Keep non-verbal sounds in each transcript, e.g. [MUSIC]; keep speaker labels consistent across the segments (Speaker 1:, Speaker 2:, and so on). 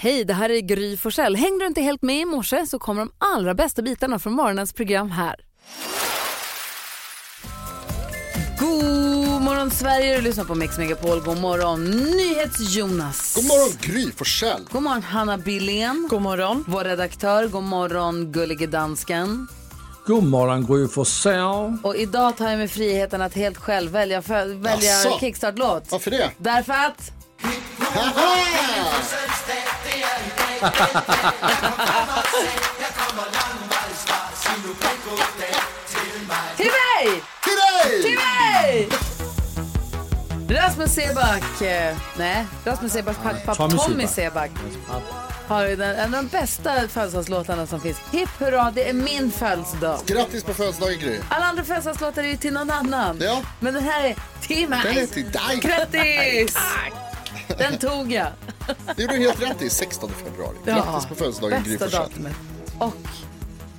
Speaker 1: Hej, det här är Gry Forssell. Hängde du inte helt med i morse så kommer de allra bästa bitarna från morgonens program här. God morgon Sverige, du lyssnar på Mix Megapol. God morgon NyhetsJonas.
Speaker 2: God morgon Gry Forssell.
Speaker 1: God morgon Hanna Billén. God morgon. Vår redaktör. God morgon Gullige Dansken.
Speaker 3: God morgon Gry Forssell.
Speaker 1: Och idag tar jag mig friheten att helt själv välja, för, välja
Speaker 2: Asså?
Speaker 1: kickstart-låt.
Speaker 2: Varför det? [LAUGHS]
Speaker 1: Därför att... Till mig!
Speaker 2: Till dig!
Speaker 1: Till mig! Rasmus Seback, eh, nej, Rasmus Sebacks pappa
Speaker 3: Tommy
Speaker 1: Tommy
Speaker 3: Seback.
Speaker 1: Seback har ju den, en av de bästa födelsedagslåtarna som finns. Hipp hurra, det är min födelsedag.
Speaker 2: Grattis på födelsedagen Gry.
Speaker 1: Alla andra födelsedagslåtar är ju till någon annan.
Speaker 2: Ja.
Speaker 1: Men den här är till mig.
Speaker 2: Den är till dig.
Speaker 1: Grattis! Den tog jag.
Speaker 2: Det gjorde du helt rätt i. 16 februari. Grattis på födelsedagen Gry
Speaker 1: Bästa
Speaker 2: Forssell.
Speaker 1: datumet. Och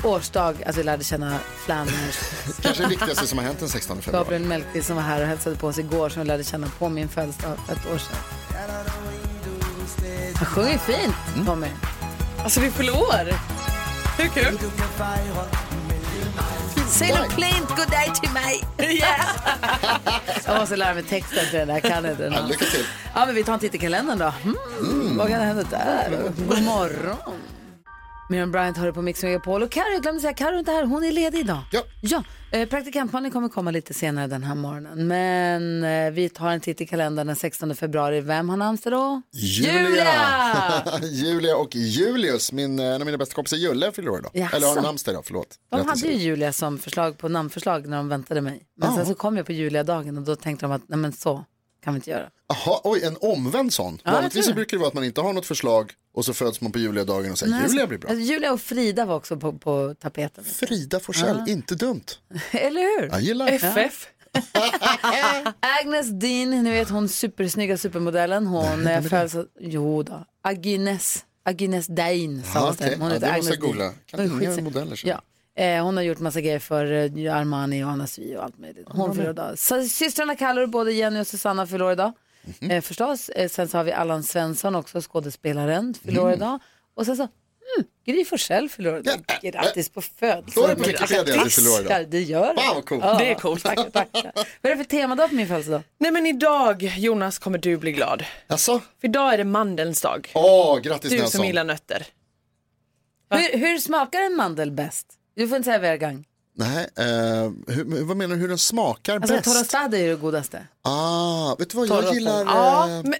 Speaker 1: årsdag, alltså jag lärde känna Flanners,
Speaker 2: Kanske det viktigaste som har hänt den 16 februari.
Speaker 1: Gabriel Mellqvist som var här och hälsade på oss igår som jag lärde känna på min födelsedag för ett år sedan. Han sjunger fint, Tommy.
Speaker 4: Alltså vi förlorar. Hur kul?
Speaker 1: Säg något klint god dag till mig. [LAUGHS] jag måste lära mig texten till den där, jag kan inte den.
Speaker 2: Ja, lycka till.
Speaker 1: Ja, men vi tar en titt i kalendern då. Mm, Vad kan hända där? God morgon. Miriam Bryant hör på Mix Megapol och Carro, jag glömde säga, Carro är inte här, hon är ledig idag.
Speaker 2: Ja.
Speaker 1: Ja, eh, praktikantmannen kommer komma lite senare den här morgonen. Men eh, vi tar en titt i kalendern den 16 februari. Vem har namnsdag då? Julia!
Speaker 2: [LAUGHS] Julia och Julius, min, eh, en av mina bästa kompisar Julle fyller år idag.
Speaker 1: Jaså?
Speaker 2: Eller har namnsdag idag, förlåt.
Speaker 1: De
Speaker 2: Grattis,
Speaker 1: hade ju Julia som förslag på namnförslag när de väntade mig. Men sen så kom jag på Julia-dagen och då tänkte de att nej men så kan vi inte göra.
Speaker 2: Jaha, oj, en omvänd sån.
Speaker 1: jag tror
Speaker 2: Vanligtvis så
Speaker 1: det.
Speaker 2: brukar det vara att man inte har något förslag och så föds man på Julia-dagen och säger Julia blir bra.
Speaker 1: Alltså, Julia och Frida var också på, på tapeten.
Speaker 2: Frida Forsell, inte dumt.
Speaker 1: [LAUGHS] Eller hur?
Speaker 2: Jag gillar det.
Speaker 4: FF.
Speaker 1: [LAUGHS] Agnes Dean, ni vet hon supersnygga supermodellen. Hon eh, föds... Jo då. Agnes, Agnes Dean
Speaker 2: Ja,
Speaker 1: sa
Speaker 2: okej.
Speaker 1: hon. Hon
Speaker 2: Ja, det måste
Speaker 1: heter
Speaker 2: jag
Speaker 1: Agnes Dean.
Speaker 2: googla. Kan
Speaker 1: Hon är
Speaker 2: inga
Speaker 1: skitsnygg.
Speaker 2: modeller, så.
Speaker 1: Ja. Eh, hon har gjort massa grejer för eh, Armani och Anna Sui och allt möjligt. Hon fyller idag. Så Systrarna Kallur, både Jenny och Susanna fyller år idag.
Speaker 2: Mhm.
Speaker 1: Eh, förstås. Eh, sen så har vi Allan Svensson också, skådespelaren, fyller år idag. Och sen så mm, Gry Forssell fyller år idag.
Speaker 2: Ja.
Speaker 1: Grattis på födelsedagen.
Speaker 2: Står det på Wikipedia att du
Speaker 1: Grattis.
Speaker 2: fyller år idag?
Speaker 1: Ja, Det gör
Speaker 2: Fan, vad coolt.
Speaker 1: Ja.
Speaker 4: Det är coolt.
Speaker 1: Tackar, tackar. Vad är det för temadag på min födelsedag?
Speaker 4: Nej men idag Jonas kommer du bli glad.
Speaker 2: Jaså?
Speaker 4: För idag är det mandelns dag.
Speaker 2: Åh, grattis
Speaker 4: Du
Speaker 2: Nelson.
Speaker 4: som gillar nötter.
Speaker 1: Hur, hur smakar en mandel bäst? Du får inte säga Vergang.
Speaker 2: Nej, eh, hur, men vad menar du hur den smakar
Speaker 1: Alltså
Speaker 2: bäst?
Speaker 1: torrostad är ju det godaste.
Speaker 2: Ah, vet du vad jag
Speaker 1: Torrostad.
Speaker 2: gillar?
Speaker 4: Ja,
Speaker 2: eh,
Speaker 4: men...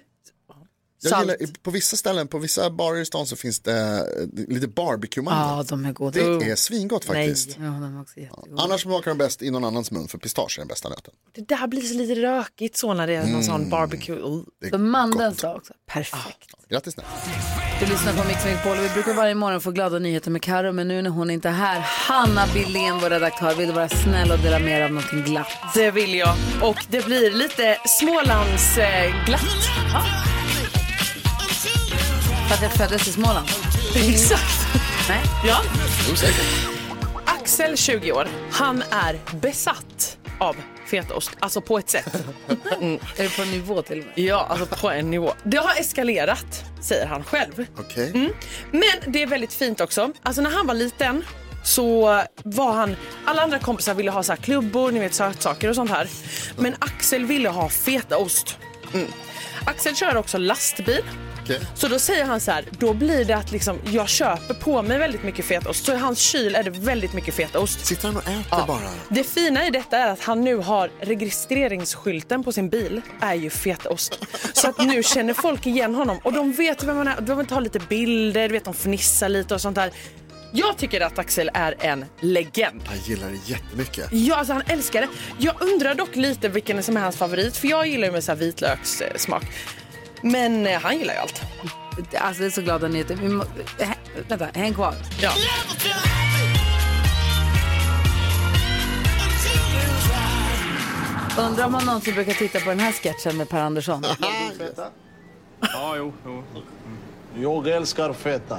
Speaker 2: jag
Speaker 4: salt.
Speaker 2: gillar på vissa ställen, på vissa barer i stan så finns det eh, lite barbecue-mandel.
Speaker 1: Ja, de är goda.
Speaker 2: det
Speaker 4: Oh.
Speaker 2: är svingott
Speaker 1: Nej,
Speaker 2: faktiskt.
Speaker 1: ja, de är också jättegoda.
Speaker 2: Annars smakar de bäst i någon annans mun för pistage är den bästa nöten.
Speaker 4: Det där blir så lite rökigt så när det är någon
Speaker 2: Mm.
Speaker 4: sån barbecue. Uh.
Speaker 1: Så mandelns dag också. Perfekt.
Speaker 2: Grattis Nelson.
Speaker 1: Du lyssnar på Mix Megapol och vi brukar varje morgon få glada nyheter med Karo men nu när hon inte är här, Hanna Billén, vår redaktör, vill vara snäll och dela med er av någonting glatt.
Speaker 4: Det vill jag. Och det blir lite eh, Smålandsglatt.
Speaker 1: För att jag föddes i Småland.
Speaker 4: [LAUGHS] Exakt.
Speaker 1: Nej?
Speaker 4: Ja.
Speaker 2: Jo, säkert.
Speaker 4: Axel, 20 år, han är besatt av fetaost. Alltså på ett sätt.
Speaker 1: [LAUGHS] Är det på nivå till och med?
Speaker 4: Ja, alltså på en nivå. Det har eskalerat, säger han själv. Mm.
Speaker 2: Okej.
Speaker 4: Men det är väldigt fint också. Alltså när han var liten så var han, alla andra kompisar ville ha så här klubbor, ni vet sötsaker och sånt här. Men Axel ville ha fetaost. Mm. Axel kör också lastbil.
Speaker 2: Okej.
Speaker 4: Så då säger han så här, då blir det att liksom, jag köper på mig väldigt mycket fetaost. Så i hans kyl är det väldigt mycket fetaost.
Speaker 2: Sitter han och äter bara?
Speaker 4: Det fina i detta är att han nu har registreringsskylten på sin bil är ju fetaost. Så att nu känner folk igen honom och de vet vem han är. De vill ta lite bilder, du vet de fnissar lite och sånt där. Jag tycker att Axel är en legend.
Speaker 2: Jag gillar det jättemycket.
Speaker 4: Ja, alltså han älskar det. Jag undrar dock lite vilken som är hans favorit för jag gillar ju med så här vitlökssmak. Men eh, han gillar ju allt.
Speaker 1: Alltså det är så glada nyheter. Vi må... Hä- Vänta, häng kvar.
Speaker 4: Ja.
Speaker 1: Undrar om man någonsin brukar titta på den här sketchen med
Speaker 2: [LAUGHS]
Speaker 1: Per Andersson.
Speaker 5: Ja, jo, Mm. jo. Okej.
Speaker 6: Jag älskar feta.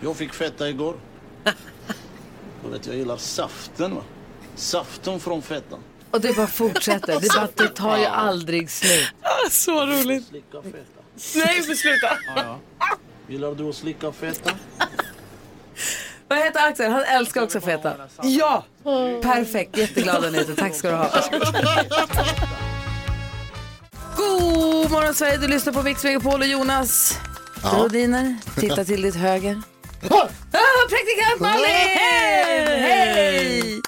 Speaker 6: Jag fick feta igår. Jag vet, jag gillar saften. Va? Saften från fetan.
Speaker 1: Och det bara fortsätter. Det, bara, det tar ju aldrig slut.
Speaker 4: Så roligt.
Speaker 6: Slicka feta.
Speaker 4: Nej, men sluta.
Speaker 6: Gillar du att slicka feta?
Speaker 1: Vad heter Axel? Han älskar också feta. Ja! Perfekt, jätteglad Anita. Tack ska du ha. God morgon Sverige, du lyssnar på Mix Megapol och Jonas
Speaker 2: Ja.
Speaker 1: Rodiner. Titta till ditt höger. Ah, praktikant Malin! Hej!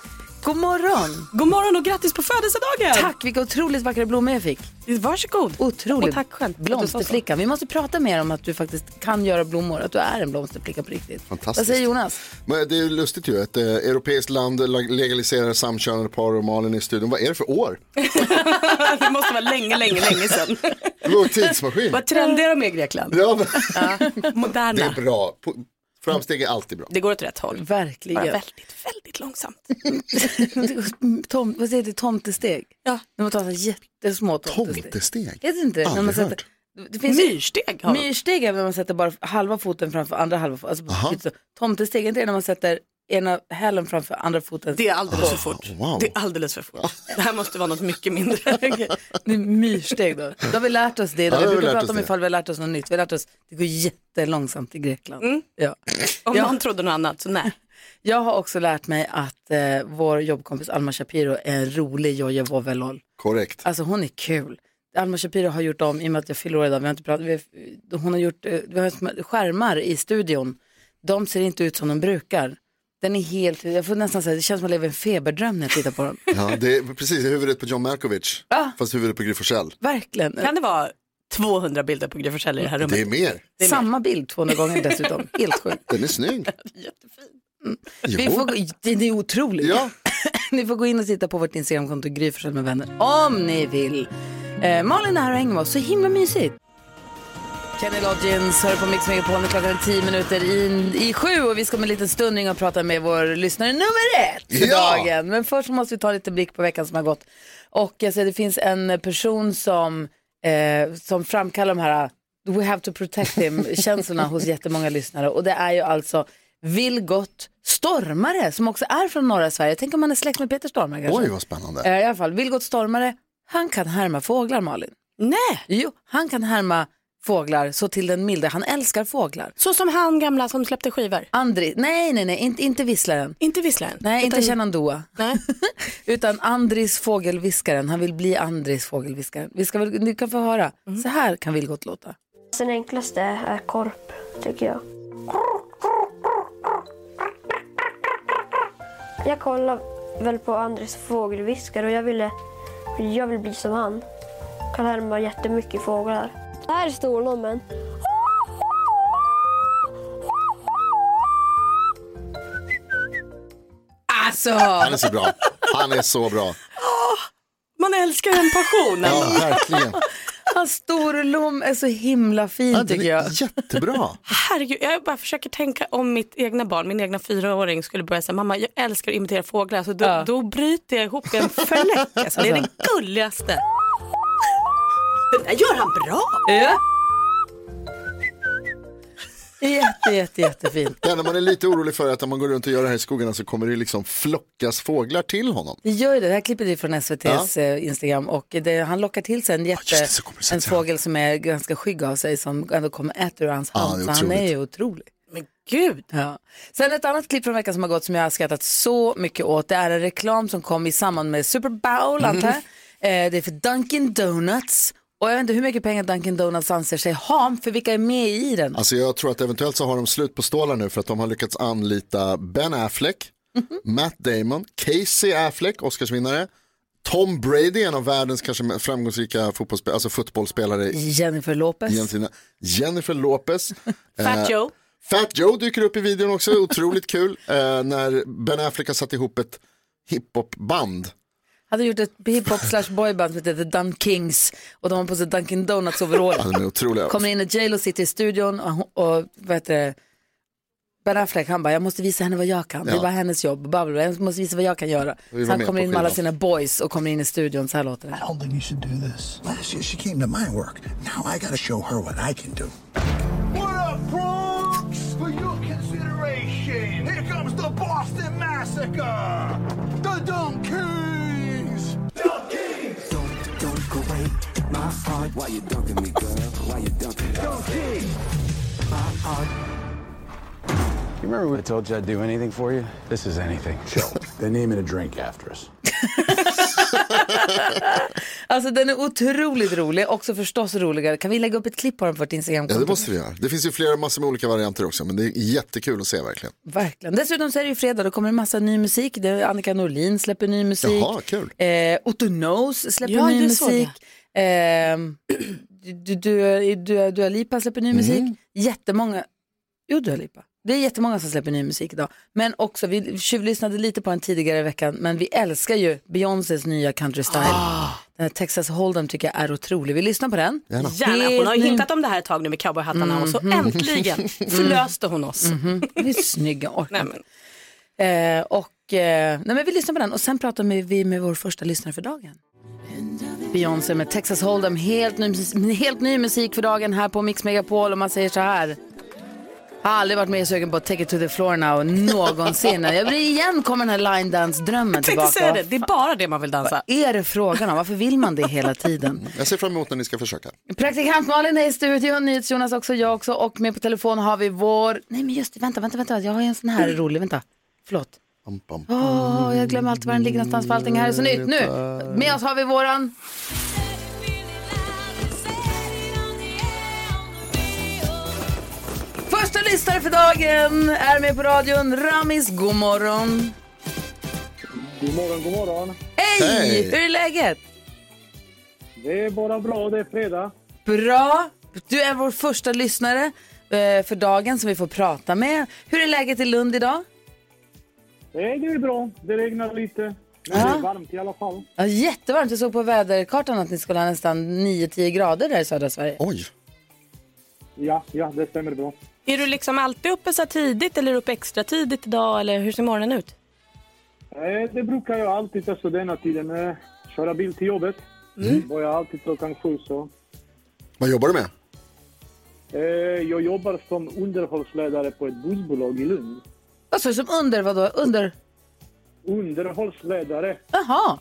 Speaker 1: God morgon!
Speaker 7: God morgon och grattis på födelsedagen!
Speaker 1: Tack, vilka otroligt vackra blommor jag fick.
Speaker 7: Varsågod!
Speaker 1: Otroligt.
Speaker 7: Och tack själv för att du sa så.
Speaker 1: Blomsterflicka. Vi måste prata mer om att du faktiskt kan göra blommor, att du är en blomsterflicka på riktigt.
Speaker 2: Fantastiskt.
Speaker 1: Vad säger Jonas?
Speaker 2: Men det är ju lustigt ju, ett eh, europeiskt land lag- legaliserar samkönade par och Malin i studion. Vad är det för år?
Speaker 7: [LAUGHS] Det måste vara länge, länge, länge sedan.
Speaker 2: Låg tidsmaskin.
Speaker 7: Vad trendiga de är i Grekland.
Speaker 2: Ja, men, det
Speaker 7: Moderna.
Speaker 2: är bra. Po- Framsteg är alltid bra.
Speaker 7: Det går åt rätt håll.
Speaker 1: Verkligen.
Speaker 7: Bara väldigt, väldigt långsamt.
Speaker 1: [LAUGHS] Tom, vad säger du, tomtesteg?
Speaker 7: Ja.
Speaker 1: När man tar så här jättesmå tomtesteg.
Speaker 2: Tomtesteg.
Speaker 1: Heter inte det? När man
Speaker 2: Aldrig
Speaker 1: sätter,
Speaker 2: hört.
Speaker 1: det finns ju-
Speaker 7: Myrsteg har de.
Speaker 1: myrsteg är när man sätter bara halva foten framför andra halva foten. Alltså,
Speaker 2: Aha.
Speaker 1: precis så. tomtesteg är inte det när man sätter ena hälen framför andra foten.
Speaker 7: Det är alldeles för fort.
Speaker 2: Oh, Wow.
Speaker 7: Det är alldeles för fort. Det här måste vara något mycket
Speaker 1: [LAUGHS]
Speaker 7: mindre.
Speaker 1: Det är myrsteg då. Då har vi lärt oss det idag.
Speaker 2: Ja, det har
Speaker 1: vi
Speaker 2: vi
Speaker 1: brukar
Speaker 2: lärt
Speaker 1: prata
Speaker 2: oss
Speaker 1: om
Speaker 2: det.
Speaker 1: ifall vi har lärt oss något nytt. Vi har lärt oss, det går jättelångsamt i Grekland. Ja.
Speaker 7: Mm. Om
Speaker 1: Ja.
Speaker 7: någon trodde något annat, så nej.
Speaker 1: [LAUGHS] Jag har också lärt mig att eh, vår jobbkompis Alma Shapiro är en rolig Jojje Voveloll.
Speaker 2: Korrekt.
Speaker 1: Alltså hon är kul. Alma Shapiro har gjort om, i och med att jag fyller år idag, vi har inte pratat, vi har, hon har gjort eh, vi har små skärmar i studion. De ser inte ut som de brukar. Den är helt, jag får nästan säga, det känns som att jag lever i en feberdröm när jag tittar på dem.
Speaker 2: Ja, det är precis huvudet på John Malkovich, fast huvudet på Gry Forssell.
Speaker 1: Verkligen.
Speaker 7: Kan det vara 200 bilder på Gry Forssell i det här rummet?
Speaker 2: Det är mer.
Speaker 1: Samma bild 200
Speaker 2: [LAUGHS]
Speaker 1: gånger dessutom. Helt sjukt.
Speaker 2: Den är snygg.
Speaker 1: Vi
Speaker 2: Jättefin.
Speaker 1: får, gå- det, det är otroligt.
Speaker 2: Ja,
Speaker 1: [COUGHS] ni får gå in och titta på vårt Instagramkonto Gry Forssell med vänner om ni vill. Eh, Malin är här och hänger med oss, så himla mysigt. Kenny Loggins hör på Mix Megapol, Nu klockan är 10 minuter i, i sju och vi ska om en liten stund ringa och prata med vår lyssnare nummer ett för
Speaker 2: Ja!
Speaker 1: dagen. Men först måste vi ta lite blick på veckan som har gått. Och alltså, det finns en person som, eh, som framkallar de här eh, We have to protect him-känslorna hos jättemånga lyssnare. Och det är ju alltså Vilgot Stormare som också är från norra Sverige. Tänk om man är släkt med Peter Stormare kanske.
Speaker 2: oj vad spännande.
Speaker 1: Eh, I alla fall, Vilgot Stormare, han kan härma fåglar Malin.
Speaker 7: Nej,
Speaker 1: Jo, han kan härma fåglar så till den milda. Han älskar fåglar.
Speaker 7: så som han gamla som släppte skivor.
Speaker 1: Andri, nej, nej, nej, inte, inte visslaren.
Speaker 7: Inte visslaren.
Speaker 1: Nej, inte
Speaker 7: Utan-
Speaker 1: Shenandoah.
Speaker 7: Nej.
Speaker 1: [LAUGHS] Utan Andris fågelviskaren. Han vill bli Andris fågelviskaren. Vi ska väl, du kan få höra.
Speaker 7: Mm.
Speaker 1: Så här kan Vilgot låta.
Speaker 8: Så det enklaste är korp, tycker jag. Jag kollar väl på Andres fågelviskare och jag ville, jag vill bli som han. Kan härma jättemycket fåglar. Här är storlommen.
Speaker 1: Alltså,
Speaker 2: Han är så bra. Han är så bra.
Speaker 7: Man älskar en passion.
Speaker 2: Ja, verkligen.
Speaker 1: [LAUGHS] hans storlom är så himla
Speaker 2: Ja,
Speaker 1: fin
Speaker 2: den
Speaker 1: tycker jag.
Speaker 2: är jättebra.
Speaker 7: Herregud, jag bara försöker tänka om mitt egna barn, min egna fyraåring skulle börja säga mamma jag älskar att imitera fåglar, så då,
Speaker 1: Ja.
Speaker 7: då bryter jag ihop i en förläck. Alltså, det är det gulligaste. Det där gör han bra.
Speaker 1: Ja. Jätte, jätte, jättefin.
Speaker 2: Det enda man är lite orolig för är att när man går runt och gör det här i skogarna så kommer det liksom flockas fåglar till honom.
Speaker 1: Det gör ju det. Det här klippet är från SVTs eh, Instagram och det, han lockar till sig en, jätte,
Speaker 2: just det, så kommer det
Speaker 1: en
Speaker 2: sätta sig.
Speaker 1: fågel som är ganska skygg av sig som ändå kommer och äter ur hans
Speaker 2: Ja,
Speaker 1: hand.
Speaker 2: det är
Speaker 1: så han är
Speaker 2: otroligt.
Speaker 1: ju otrolig.
Speaker 7: Men gud.
Speaker 1: Ja. Sen ett annat klipp från veckan som har gått som jag har skrattat så mycket åt. Det är en reklam som kom i samband med Super Bowl antar
Speaker 2: Mhm.
Speaker 1: jag. Eh, det är för Dunkin Donuts. Och jag vet inte hur mycket pengar Dunkin Donuts anser sig ha, för vilka är med i den?
Speaker 2: Alltså jag tror att eventuellt så har de slut på stålar nu för att de har lyckats anlita Ben Affleck,
Speaker 7: Mhm.
Speaker 2: Matt Damon, Casey Affleck, Oscarsvinnare, Tom Brady, en av världens kanske mest framgångsrika fotbollsspelare, alltså fotbollsspelare
Speaker 1: Jennifer Lopez.
Speaker 2: egentligen. Jennifer Lopez.
Speaker 7: [LAUGHS] Fat
Speaker 2: Eh,
Speaker 7: Joe.
Speaker 2: Fat Joe dyker upp i videon också,
Speaker 7: [LAUGHS]
Speaker 2: otroligt kul. Eh, när Ben Affleck har satt ihop ett hiphopband.
Speaker 1: hade gjort ett hiphop slash boyband som heter The Dun Kings och de har på sig Dunkin Donuts overall.
Speaker 2: Ja, de är otroliga.
Speaker 1: Kommer in när J.Lo sitter i studion och, hon- och vad heter det, Ben Affleck han bara, jag måste visa henne vad jag kan, det är
Speaker 2: Ja.
Speaker 1: bara hennes jobb, bla, bla, bla. jag måste visa vad jag kan göra.
Speaker 2: Vi var
Speaker 1: Så han
Speaker 2: med
Speaker 1: kommer
Speaker 2: på
Speaker 1: in med alla
Speaker 2: skivan.
Speaker 1: sina boys och kommer in i studion, så här låter det.
Speaker 9: I don't think you should do this. Last year she came to my work. Now I gotta show her what I can do. What up, Bronx? For your consideration, here comes the Boston Massacre! The Dunkies! Dunkies! Don't, don't go away. My heart, why you dunking me, girl? Why you dunking? Dunkies! My
Speaker 1: har.
Speaker 10: You remember when I told you I'd do anything for you? This is anything. Chill. they named it a drink after us.
Speaker 1: Alltså den är otroligt rolig, också förstås roligare. Kan vi lägga upp ett klipp på den på vårt Instagramkonto?
Speaker 2: Ja, det måste vi göra. Det finns ju flera massor med olika varianter också, men det är jättekul att se verkligen.
Speaker 1: Verkligen. Dessutom så är det ju fredag, då kommer det massa ny musik. Det är Annika Norlin släpper ny musik.
Speaker 2: Jaha, kul.
Speaker 1: Eh, Otto Knows släpper
Speaker 7: Ja,
Speaker 1: ny
Speaker 7: det såg
Speaker 1: musik. Eh, du, du, du, Dua Lipa släpper ny musik.
Speaker 2: Mm.
Speaker 1: Jättemånga, jo Dua Lipa. Det är jättemånga som släpper ny musik idag. Men också, vi tjuvlyssnade lite på den tidigare i veckan, men vi älskar ju Beyoncés nya country style.
Speaker 2: Ah.
Speaker 1: Den här Texas Hold'em tycker jag är otrolig. Vi lyssnar på den.
Speaker 7: Gärna. Hon har ju
Speaker 1: Helt ny-
Speaker 7: hintat om det här ett tag nu med cowboyhattarna och så
Speaker 1: Mhm.
Speaker 7: äntligen förlöste hon oss.
Speaker 1: Mhm. Vi är snygga orkar
Speaker 7: Nej,
Speaker 1: inte. eh, och, eh, nej, men Vi lyssnar på den och sen pratar med, vi med vår första lyssnare för dagen. Beyoncé med Texas Hold'em, helt ny, mus- helt ny musik för dagen här på Mix Megapol och man säger så här. Jag har aldrig varit mer sugen på att take it to the floor now
Speaker 7: [LAUGHS]
Speaker 1: någonsin. Jag blir igen kommer den här line dance drömmen
Speaker 7: Tänkte
Speaker 1: tillbaka.
Speaker 7: säga det, det är bara det man vill dansa.
Speaker 1: Vad är det frågan om? Varför vill man det hela tiden?
Speaker 2: Mm, Jag ser fram emot när ni ska försöka.
Speaker 1: Praktikant Malin är i studion, NyhetsJonas också, jag också och med på telefon har vi vår... Nej men just det, vänta, vänta, vänta, jag har ju en sån
Speaker 7: [CLEARS THROAT]
Speaker 1: här rolig, vänta. Förlåt.
Speaker 2: Bam, bam.
Speaker 1: Åh, jag glömmer alltid var den ligger någonstans för allting här är så nytt. Nu, med oss har vi våran... Första lyssnare för dagen är med på radion, Ramis, god morgon.
Speaker 11: God morgon, god morgon.
Speaker 1: Hej!
Speaker 11: Hej.
Speaker 1: Hur är läget?
Speaker 11: Det är bara bra och det är fredag.
Speaker 1: Bra. Du är vår första lyssnare eh, för dagen som vi får prata med. Hur är läget i Lund idag?
Speaker 11: Nej, det är bra. Det regnar lite. Men det är varmt i alla fall.
Speaker 1: Ja, jättevarmt. Jag såg på väderkartan att ni skulle ha nästan 9-10 grader där i södra Sverige.
Speaker 2: Oj.
Speaker 11: Ja, ja, det stämmer bra.
Speaker 7: Är du liksom alltid uppe så här tidigt eller är du uppe extra tidigt idag eller hur ser morgonen ut?
Speaker 11: Eh, Det brukar jag alltid efter denna tiden. eh, Köra bil till jobbet. Börjar alltid klockan sju. Så.
Speaker 2: Vad jobbar du med?
Speaker 11: Eh, Jag jobbar som underhållsledare på ett bussbolag i Lund.
Speaker 1: Vad sa du som under? Vadå? Under?
Speaker 11: Underhållsledare.
Speaker 1: Jaha.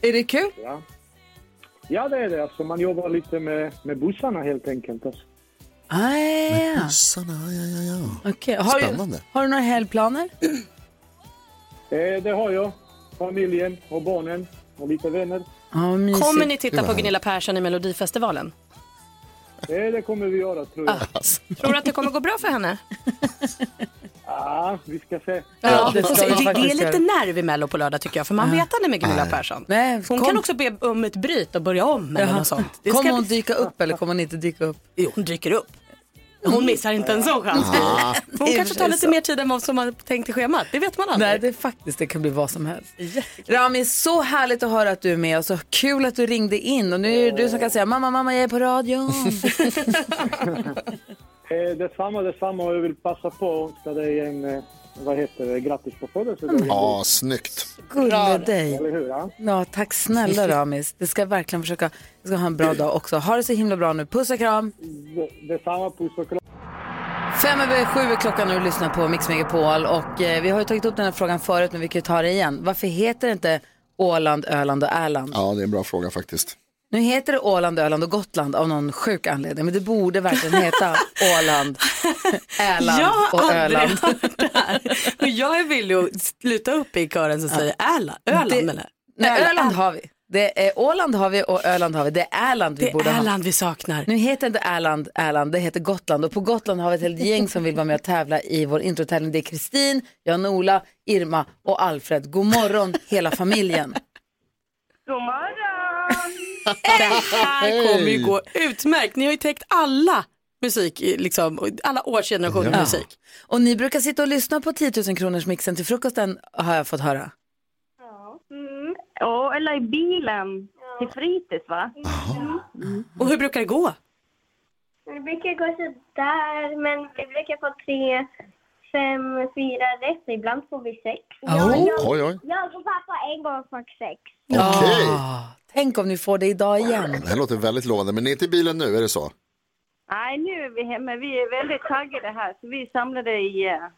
Speaker 1: Är det kul?
Speaker 11: Ja, ja det är det. Alltså, man jobbar lite med, med bussarna helt enkelt. Alltså.
Speaker 1: Ah, ja, ja.
Speaker 2: Bussarna, ja, ja, ja.
Speaker 1: Okej. Har, du,
Speaker 2: Spännande.
Speaker 1: har du några helgplaner?
Speaker 11: Eh, Det har jag. Familjen och barnen och lite vänner.
Speaker 1: Ja, mysigt.
Speaker 7: Kommer ni titta
Speaker 11: Det
Speaker 7: på
Speaker 11: var
Speaker 7: Gunilla Persson i Melodifestivalen?
Speaker 11: Eh, Det kommer vi göra tror jag.
Speaker 7: Tror du att det kommer gå bra för henne?
Speaker 11: Ja, vi ska se.
Speaker 7: Ja,
Speaker 1: det
Speaker 7: det,
Speaker 1: ska
Speaker 7: får
Speaker 1: vi
Speaker 7: se. det, det
Speaker 1: faktiskt
Speaker 7: är lite nerv i Mello på lördag tycker jag, för man
Speaker 1: Ja.
Speaker 7: vet aldrig med Gunilla
Speaker 1: Nej.
Speaker 7: Persson.
Speaker 1: Nej,
Speaker 7: Hon
Speaker 1: kom-
Speaker 7: kan också be om ett bryt och börja om eller
Speaker 1: Jaha.
Speaker 7: något sånt.
Speaker 1: Kommer hon dyka upp eller kommer hon inte dyka upp?
Speaker 7: Jo, hon dyker upp. Hon missar inte en sån chans.
Speaker 1: Ja.
Speaker 7: [LAUGHS] Hon
Speaker 1: I och
Speaker 7: kanske
Speaker 1: för
Speaker 7: tar
Speaker 1: sig
Speaker 7: lite
Speaker 1: så.
Speaker 7: mer tid än vad som man tänkt i schemat. Det vet man aldrig.
Speaker 1: Nej, det är faktiskt, det kan bli vad som helst. Rami, så härligt att höra att du är med och så kul att du ringde in och nu är det du som kan säga mamma, mamma, jag är på radion.
Speaker 11: Eh, detsamma, detsamma. Och Jag vill passa på och önska dig en, eh, vad heter det, grattis på
Speaker 1: Mm.
Speaker 11: födelsedagen.
Speaker 2: Ja, snyggt.
Speaker 1: Gulle dig.
Speaker 11: Eller hur? Ja?
Speaker 1: Ja, tack snälla Ramis. Det ska jag verkligen försöka. Jag ska ha en bra dag också. Ha det så himla bra nu. Puss och kram.
Speaker 11: Det- Detsamma, puss och kram.
Speaker 1: Fem över sju är klockan när du lyssnar på Mix Megapol. Och eh, vi har ju tagit upp den här frågan förut, men vi kan ju ta det igen. Varför heter det inte Åland, Öland och Ärland?
Speaker 2: Ja, det är en bra fråga faktiskt.
Speaker 1: Nu heter det Åland, Öland och Gotland av någon sjuk anledning, men det borde verkligen heta Åland, Äland
Speaker 7: jag har
Speaker 1: och
Speaker 7: aldrig
Speaker 1: Öland.
Speaker 7: hört det här. Och jag är villig att sluta upp i kören som säger Äla, Öland
Speaker 1: Det-
Speaker 7: eller?
Speaker 1: Nej, Öland har vi. Det är Åland har vi och Öland har vi. Det är Äland vi
Speaker 7: Det är
Speaker 1: borde ha.
Speaker 7: Äland vi saknar.
Speaker 1: Nu heter inte Erland Erland, det heter Gotland. Och på Gotland har vi ett helt gäng som vill vara med och tävla i vår introtävling. Det är Kristin, Jan-Ola, Irma och Alfred. God
Speaker 7: [LAUGHS]
Speaker 1: morgon hela familjen.
Speaker 12: God morgon!
Speaker 7: "Äh, Det här kommer ju gå utmärkt. Ni har ju täckt alla musik, liksom, alla årsgenerationer
Speaker 1: Ja.
Speaker 7: musik.
Speaker 1: Och ni brukar sitta och lyssna på 10 000 kronors mixen till frukosten har jag fått höra.
Speaker 12: Mm. Ja, eller i bilen till fritids, va? Mm.
Speaker 7: Och hur brukar det gå?
Speaker 13: Det brukar gå sådär, men vi brukar få tre, fem, fyra rätt. Ibland får vi sex.
Speaker 1: Oh. Oj, oj.
Speaker 13: jag och pappa en gång fick sex.
Speaker 2: Okej.
Speaker 1: Tänk om ni får det idag igen.
Speaker 2: Det här låter väldigt lovande, men ni är inte i bilen nu, är det så?
Speaker 12: Nej, nu är vi hemma. Vi är väldigt taggade här, så vi är samlade i, eh,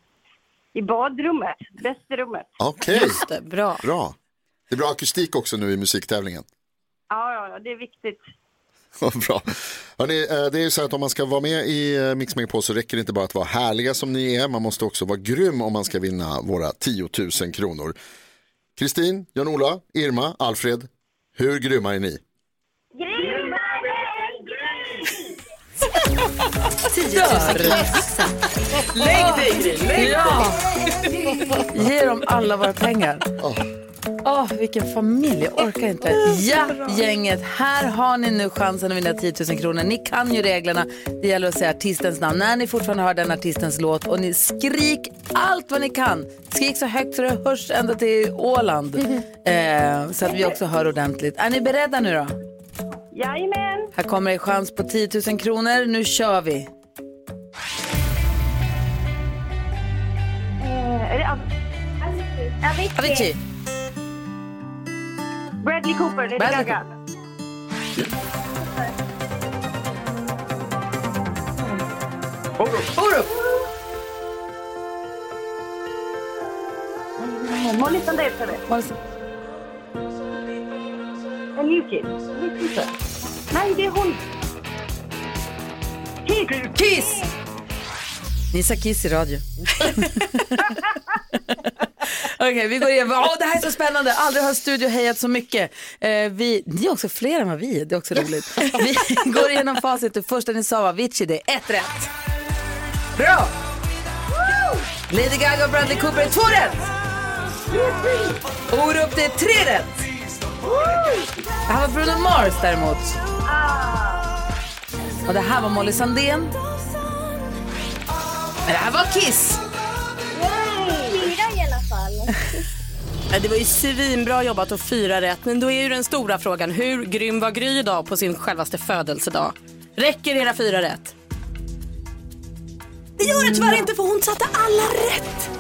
Speaker 12: i badrummet, bästrummet.
Speaker 2: Okej.
Speaker 12: Just
Speaker 7: det, bra.
Speaker 2: Bra. Det är bra akustik också nu i musiktävlingen. [LAUGHS]
Speaker 12: Ja, ja, ja, det är viktigt.
Speaker 2: Vad bra. Hörrni, eh, det är ju så här att om man ska vara med i eh, Mix Megapol så räcker det inte bara att vara härliga som ni är, man måste också vara grym om man ska vinna våra 10 000 kronor. Kristin, Jan-Ola, Irma, Alfred, hur grymma är ni?
Speaker 7: 10 000 kronor.
Speaker 1: Lägg dig, Gry, lägg dig.
Speaker 7: Ja.
Speaker 1: Ge dem alla våra pengar. Åh, vilken familj. Jag orkar inte. Ja, gänget. Här har ni nu chansen att vinna 10 000 kronor. Ni kan ju reglerna. Det gäller att säga artistens namn när ni fortfarande hör den artistens låt. Och ni skrik allt vad ni kan. Skrik så högt så det hörs ända till Åland. Eh, så att vi också hör ordentligt. Är ni beredda nu då?
Speaker 12: Jajamän!
Speaker 1: Här kommer en chans på 10 000 kronor. Nu kör vi.
Speaker 12: Eh, är det Av-
Speaker 1: Avicii.
Speaker 12: Bradley Cooper, Lady
Speaker 1: Bradley
Speaker 12: Gaga.
Speaker 1: Orup!
Speaker 12: Molly Sandén, sa du? En new kid. Vet inte. Nej, det är hon. Kiss!
Speaker 1: Kiss! Ni sa kiss i radio. Okej, vi går igenom. Åh, det här är så spännande. Aldrig har en studio hejat så mycket. Eh, vi, ni är också fler än vad vi är. Det är också roligt. Vi går igenom facit. Det första ni sa var Avicii. Det är ett rätt. Bra! Lady Gaga och Bradley Cooper är två rätt. Orup, det är tre rätt. Det här var Bruno Mars däremot. Och det här var Molly Sandén. Men det här var Kiss.
Speaker 13: Fyra i alla fall.
Speaker 7: Ja, Det var ju svinbra jobbat och fyra rätt. Men då är ju den stora frågan, hur grym var Gry idag på sin självaste födelsedag? Räcker era fyra rätt? Det gör det tyvärr inte för hon satte alla rätt.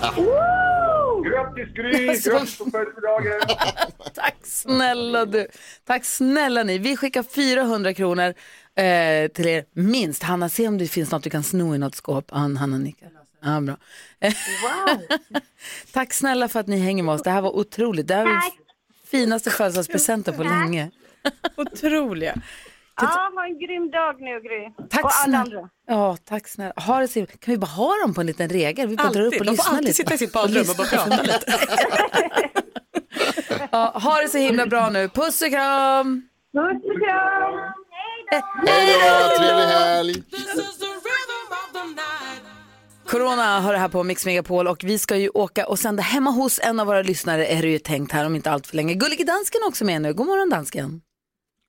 Speaker 11: Grattis
Speaker 1: [LAUGHS]
Speaker 11: Gry!
Speaker 1: Alltså,
Speaker 11: Grattis på födelsedagen!
Speaker 1: Tack snälla du. Tack snälla ni. Vi skickar 400 kronor eh, till er minst. Hanna, se om det finns något du kan sno i något skåp. Han, Hanna nickar. Ja, bra. [LAUGHS] Tack snälla för att ni hänger med oss. Det här var otroligt. Det här var den finaste födelsedagspresenten på länge.
Speaker 4: Otroliga.
Speaker 12: Ja, ha en grym dag nu, Gry.
Speaker 1: Tack
Speaker 12: och alla
Speaker 1: snälla.
Speaker 12: andra.
Speaker 1: Ja, tack snälla. Ha det så himla- Kan vi bara ha dem på en liten regel? Vi bara drar upp och
Speaker 7: Alltid. De får
Speaker 1: lyssnar
Speaker 7: alltid
Speaker 1: lite.
Speaker 7: sitta i sitt badrum och bara
Speaker 1: lyssna.
Speaker 7: prata lite.
Speaker 1: Ja, ha det så himla bra nu. Puss och kram!
Speaker 12: Puss och kram!
Speaker 2: Hej då, trevlig helg!
Speaker 1: Corona har det här på Mix Megapol och vi ska ju åka och sända hemma hos en av våra lyssnare är det ju tänkt här om inte allt för länge. Gullige dansken är också med nu. God morgon dansken.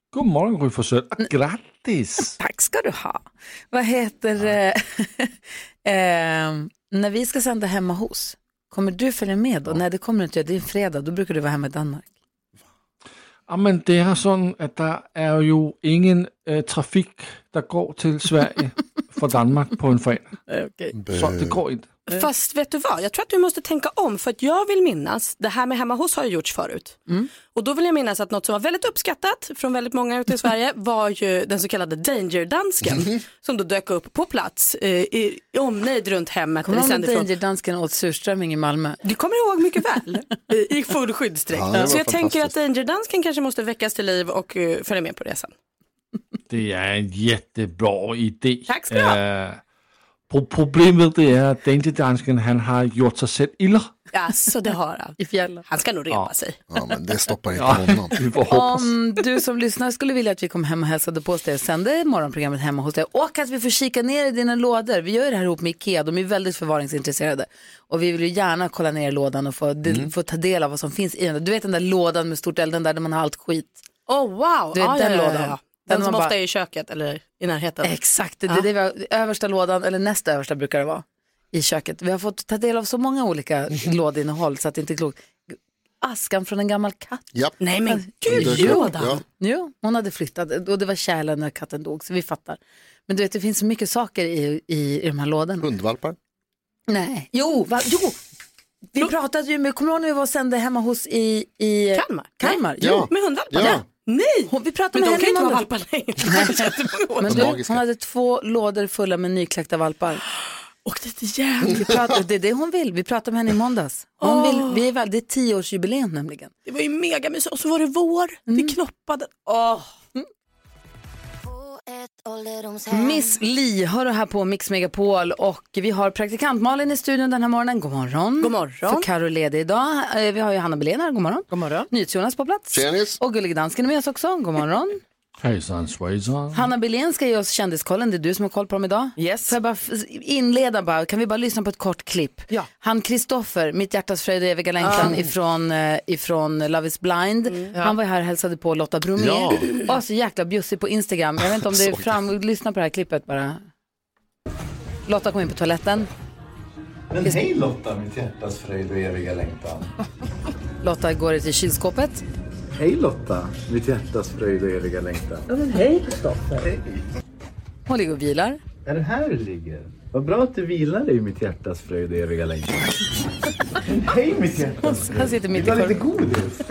Speaker 3: God morgon Gry Forssell. Ah, Grattis!
Speaker 1: Tack ska du ha. Vad heter det? [LAUGHS] eh, när vi ska sända hemma hos, kommer du följa med då? Nej, det kommer du inte göra. Det är en fredag, då brukar du vara hemma i Danmark.
Speaker 3: Ja, men det är sådan, att det är ju ingen äh, trafik som går till
Speaker 1: [LAUGHS]
Speaker 3: Sverige från Danmark på en fredag. Så det går inte.
Speaker 1: Eh.
Speaker 7: Fast vet du vad, jag tror att du måste tänka om för att jag vill minnas, det här med hemma hos har ju gjorts förut.
Speaker 1: Mm.
Speaker 7: Och då vill jag minnas att något som var väldigt uppskattat från väldigt många
Speaker 1: [LAUGHS]
Speaker 7: ute i Sverige var ju den så kallade
Speaker 1: Mm.
Speaker 7: danger-dansken som då dök upp på plats eh, i i omnejd runt hemmet.
Speaker 1: Kommer
Speaker 7: där
Speaker 1: du
Speaker 7: vi
Speaker 1: ihåg
Speaker 7: sände
Speaker 1: när
Speaker 7: ifrån.
Speaker 1: Danger-dansken åt surströmming i Malmö?
Speaker 7: Du kommer ihåg mycket väl, i- i full skyddsdräkt.
Speaker 1: Ja, det var
Speaker 7: så jag tänker att
Speaker 1: fantastiskt.
Speaker 7: danger-dansken kanske måste väckas till liv och eh, följa med på
Speaker 1: [LAUGHS]
Speaker 7: resan.
Speaker 3: Det är en jättebra idé.
Speaker 7: Tack ska du ha.
Speaker 3: Øh, pro- problemet det är att Danger Dansken han har gjort sig själv illa.
Speaker 7: Alltså det har han.
Speaker 1: I fjällen.
Speaker 7: Han ska nog repa sig.
Speaker 2: Ja, men det stoppar inte
Speaker 3: Ja,
Speaker 2: honom.
Speaker 3: vi får hoppas.
Speaker 1: Om du som lyssnar skulle vilja att vi kom hem och hälsade på hos dig och sände morgonprogrammet hemma hos dig och att vi får kika ner i dina lådor. Vi gör ju det här ihop med Ikea, de är ju väldigt förvaringsintresserade. Och vi vill ju gärna kolla ner i lådan och få, de-
Speaker 3: Mm.
Speaker 1: få ta del av vad som finns i den. Du vet den där lådan med stort eld, den där där man har allt skit.
Speaker 7: [LAUGHS] Oh wow,
Speaker 1: Du vet
Speaker 7: Ja,
Speaker 1: den
Speaker 7: ja, ja, ja.
Speaker 1: lådan.
Speaker 7: Den,
Speaker 1: Den
Speaker 7: som
Speaker 1: man
Speaker 7: ofta
Speaker 1: bara-
Speaker 7: är i köket eller i närheten.
Speaker 1: Exakt, det,
Speaker 7: Ja.
Speaker 1: det är det vi har, översta lådan, eller nästa översta brukar det vara, i köket. Vi har fått ta del av så många olika lådinnehåll så att det inte är klokt. Askan från en gammal katt.
Speaker 2: Ja.
Speaker 7: Nej men
Speaker 1: Gud,
Speaker 7: gud,
Speaker 1: jo,
Speaker 7: Jordan.
Speaker 1: jo, hon hade flyttat och det var kärlen när katten dog, så vi fattar. Men du vet, det finns så mycket saker i, i, i de här lådorna.
Speaker 2: Hundvalpar?
Speaker 1: Nej, jo, va, jo. vi pratade ju med, kommer du ihåg när vi var och sände hemma hos i, i
Speaker 7: Kalmar?
Speaker 1: Kalmar?
Speaker 7: Nej.
Speaker 1: Jo.
Speaker 7: Med hundvalpar?
Speaker 1: Ja.
Speaker 7: Nej!
Speaker 1: Hon, vi pratade
Speaker 7: Men de
Speaker 1: med
Speaker 7: kan ju
Speaker 1: henne
Speaker 7: inte vara
Speaker 1: innan
Speaker 7: valpar
Speaker 1: [LAUGHS]
Speaker 7: längre.
Speaker 1: Men du, hon hade två lådor fulla med nykläckta valpar.
Speaker 7: Och det är igen.
Speaker 1: Vi pratade, det är det hon vill. Vi pratade med henne i måndags. Hon vill, vi är, väl- det är tioårsjubileum nämligen. Mm.
Speaker 7: Det var ju megamysigt. Och så var det vår. Det knoppade. Åh.
Speaker 1: Miss Li hör du här på Mix Megapol och vi har praktikant Malin i studion den här morgonen. God morgon.
Speaker 7: God morgon.
Speaker 1: För Karo är ledig idag. Eh, Vi har ju Hanna Belén här. God morgon.
Speaker 7: God morgon.
Speaker 1: NyhetsJonas på plats.
Speaker 2: Tjenis.
Speaker 1: Och Gullig Dansken är med oss också. God morgon.
Speaker 3: Hejsan svejsan.
Speaker 1: Hanna Belén ska ge oss kändiskollen. Det är du som har koll på dem idag. Yes. Får jag bara f- inleda bara? Kan vi bara lyssna på ett kort klipp? Ja. Han Kristoffer, Mitt hjärtas fröjd och eviga längtan
Speaker 7: Ah.
Speaker 1: ifrån, eh, ifrån Love is blind. Han var ju här och hälsade på Lotta Bromé.
Speaker 7: Ja.
Speaker 1: Och så jäkla bjussig på Instagram. Jag vet inte om det är
Speaker 7: Såg det.
Speaker 1: fram... Lyssna på det här klippet bara. Lotta kom in på toaletten.
Speaker 14: Men hej Lotta, mitt hjärtas fröjd och eviga längtan.
Speaker 1: Lotta går till kylskåpet.
Speaker 14: Hej Lotta, [LAUGHS] mitt hjärtas fröjd och eviga längtan.
Speaker 1: men hej Kristoffer. Hon ligger och vilar.
Speaker 14: Är det här du ligger? Vad bra att du vilar dig i mitt hjärtas fröjd och eviga längtan. Men [LAUGHS] hej mitt hjärtas fröjd.
Speaker 1: Han sitter mitt i
Speaker 14: Vill du ha lite
Speaker 1: korgen.
Speaker 14: godis?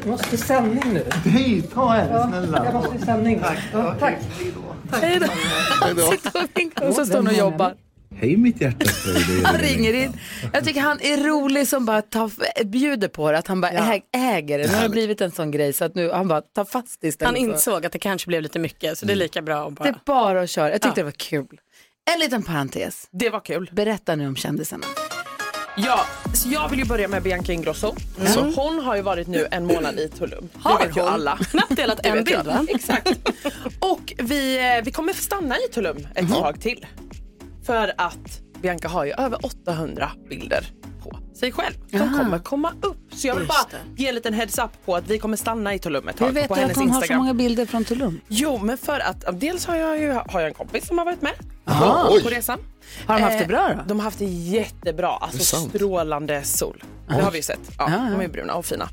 Speaker 15: Jag måste i sändning nu.
Speaker 14: Nej, ta en snälla.
Speaker 15: Jag måste i sändning. Tack. Tack.
Speaker 1: Hej då. Han sitter och vinkar och så står hon och jobbar.
Speaker 14: Hej mitt hjärtas fröjd och eviga
Speaker 1: Han
Speaker 14: längtan.
Speaker 1: ringer in. Jag tycker han är rolig som bara tar, bjuder på det, att han bara äg, äger det. Nu har det blivit en sån grej så att nu, han bara tar fast det istället. Mm.
Speaker 7: Han insåg att det kanske blev lite mycket så det är lika bra att
Speaker 1: Det är
Speaker 7: bara...
Speaker 1: bara att köra. Jag tyckte
Speaker 7: Ja.
Speaker 1: det var kul. En liten parentes.
Speaker 4: Det var kul.
Speaker 1: Berätta nu om kändisarna.
Speaker 4: Ja, så jag vill ju börja med Bianca Ingrosso.
Speaker 1: Mm.
Speaker 4: Så hon har ju varit nu en månad i Tulum.
Speaker 7: Har
Speaker 4: det vet ju
Speaker 7: hon?
Speaker 1: [LAUGHS]
Speaker 4: alla.
Speaker 7: Knappt delat
Speaker 4: Det
Speaker 7: en
Speaker 4: vet
Speaker 7: bild,
Speaker 4: jag.
Speaker 7: va?
Speaker 4: Exakt. Och vi, eh, vi kommer stanna i Tulum ett
Speaker 1: Mm.
Speaker 4: tag till. För att Bianca har ju över 800 bilder på sig själv. De
Speaker 1: Aha.
Speaker 4: kommer komma upp. Så jag vill
Speaker 1: Just
Speaker 4: bara ge en liten heads up på att vi kommer stanna i Tulum ett tag.
Speaker 1: Hur vet
Speaker 4: på
Speaker 1: du att hon har så många bilder från Tulum?
Speaker 4: Jo, men för att ja, dels har jag, ju, har jag en kompis som har varit med
Speaker 1: Aha.
Speaker 4: på,
Speaker 1: Oj.
Speaker 4: på resan. Eh,
Speaker 1: Har de haft det bra då?
Speaker 4: De har haft det jättebra.
Speaker 1: Det är
Speaker 4: Alltså
Speaker 1: sant.
Speaker 4: strålande sol. Det
Speaker 1: Oj.
Speaker 4: har vi ju sett. Ja,
Speaker 1: Ja, ja.
Speaker 4: De är bruna och fina. Eh,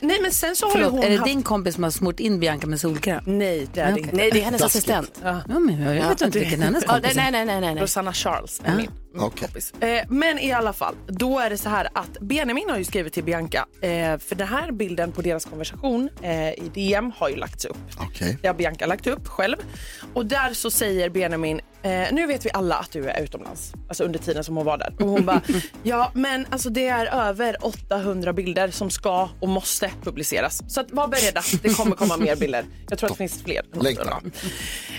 Speaker 4: nej, men sen så har ju
Speaker 1: Förlåt,
Speaker 4: hon
Speaker 1: är det
Speaker 4: haft...
Speaker 1: din kompis som har smort in Bianca med solkräm?
Speaker 4: Nej, det är det inte.
Speaker 7: Nej, det är hennes assistent.
Speaker 4: Ja.
Speaker 1: men jag vet inte vilken hennes
Speaker 4: Ja,
Speaker 1: kompis
Speaker 4: nej,
Speaker 1: är.
Speaker 4: nej, nej, nej, nej. Rosanna Charles är min.
Speaker 2: Okej.
Speaker 4: Eh, men i alla fall, då är det så här att Benjamin har ju skrivit till Bianca eh, för den här bilden på deras konversation eh, i DM har ju lagts upp.
Speaker 2: Okej.
Speaker 4: Det har Bianca lagt upp själv. Och där så säger Benjamin, eh, nu vet vi alla att du är utomlands. Alltså under tiden som hon var där. Och hon bara, ja men alltså det är över 800 bilder som ska och måste publiceras. Så att var beredda, det kommer komma mer bilder. Jag tror att det finns fler.
Speaker 2: Längtar.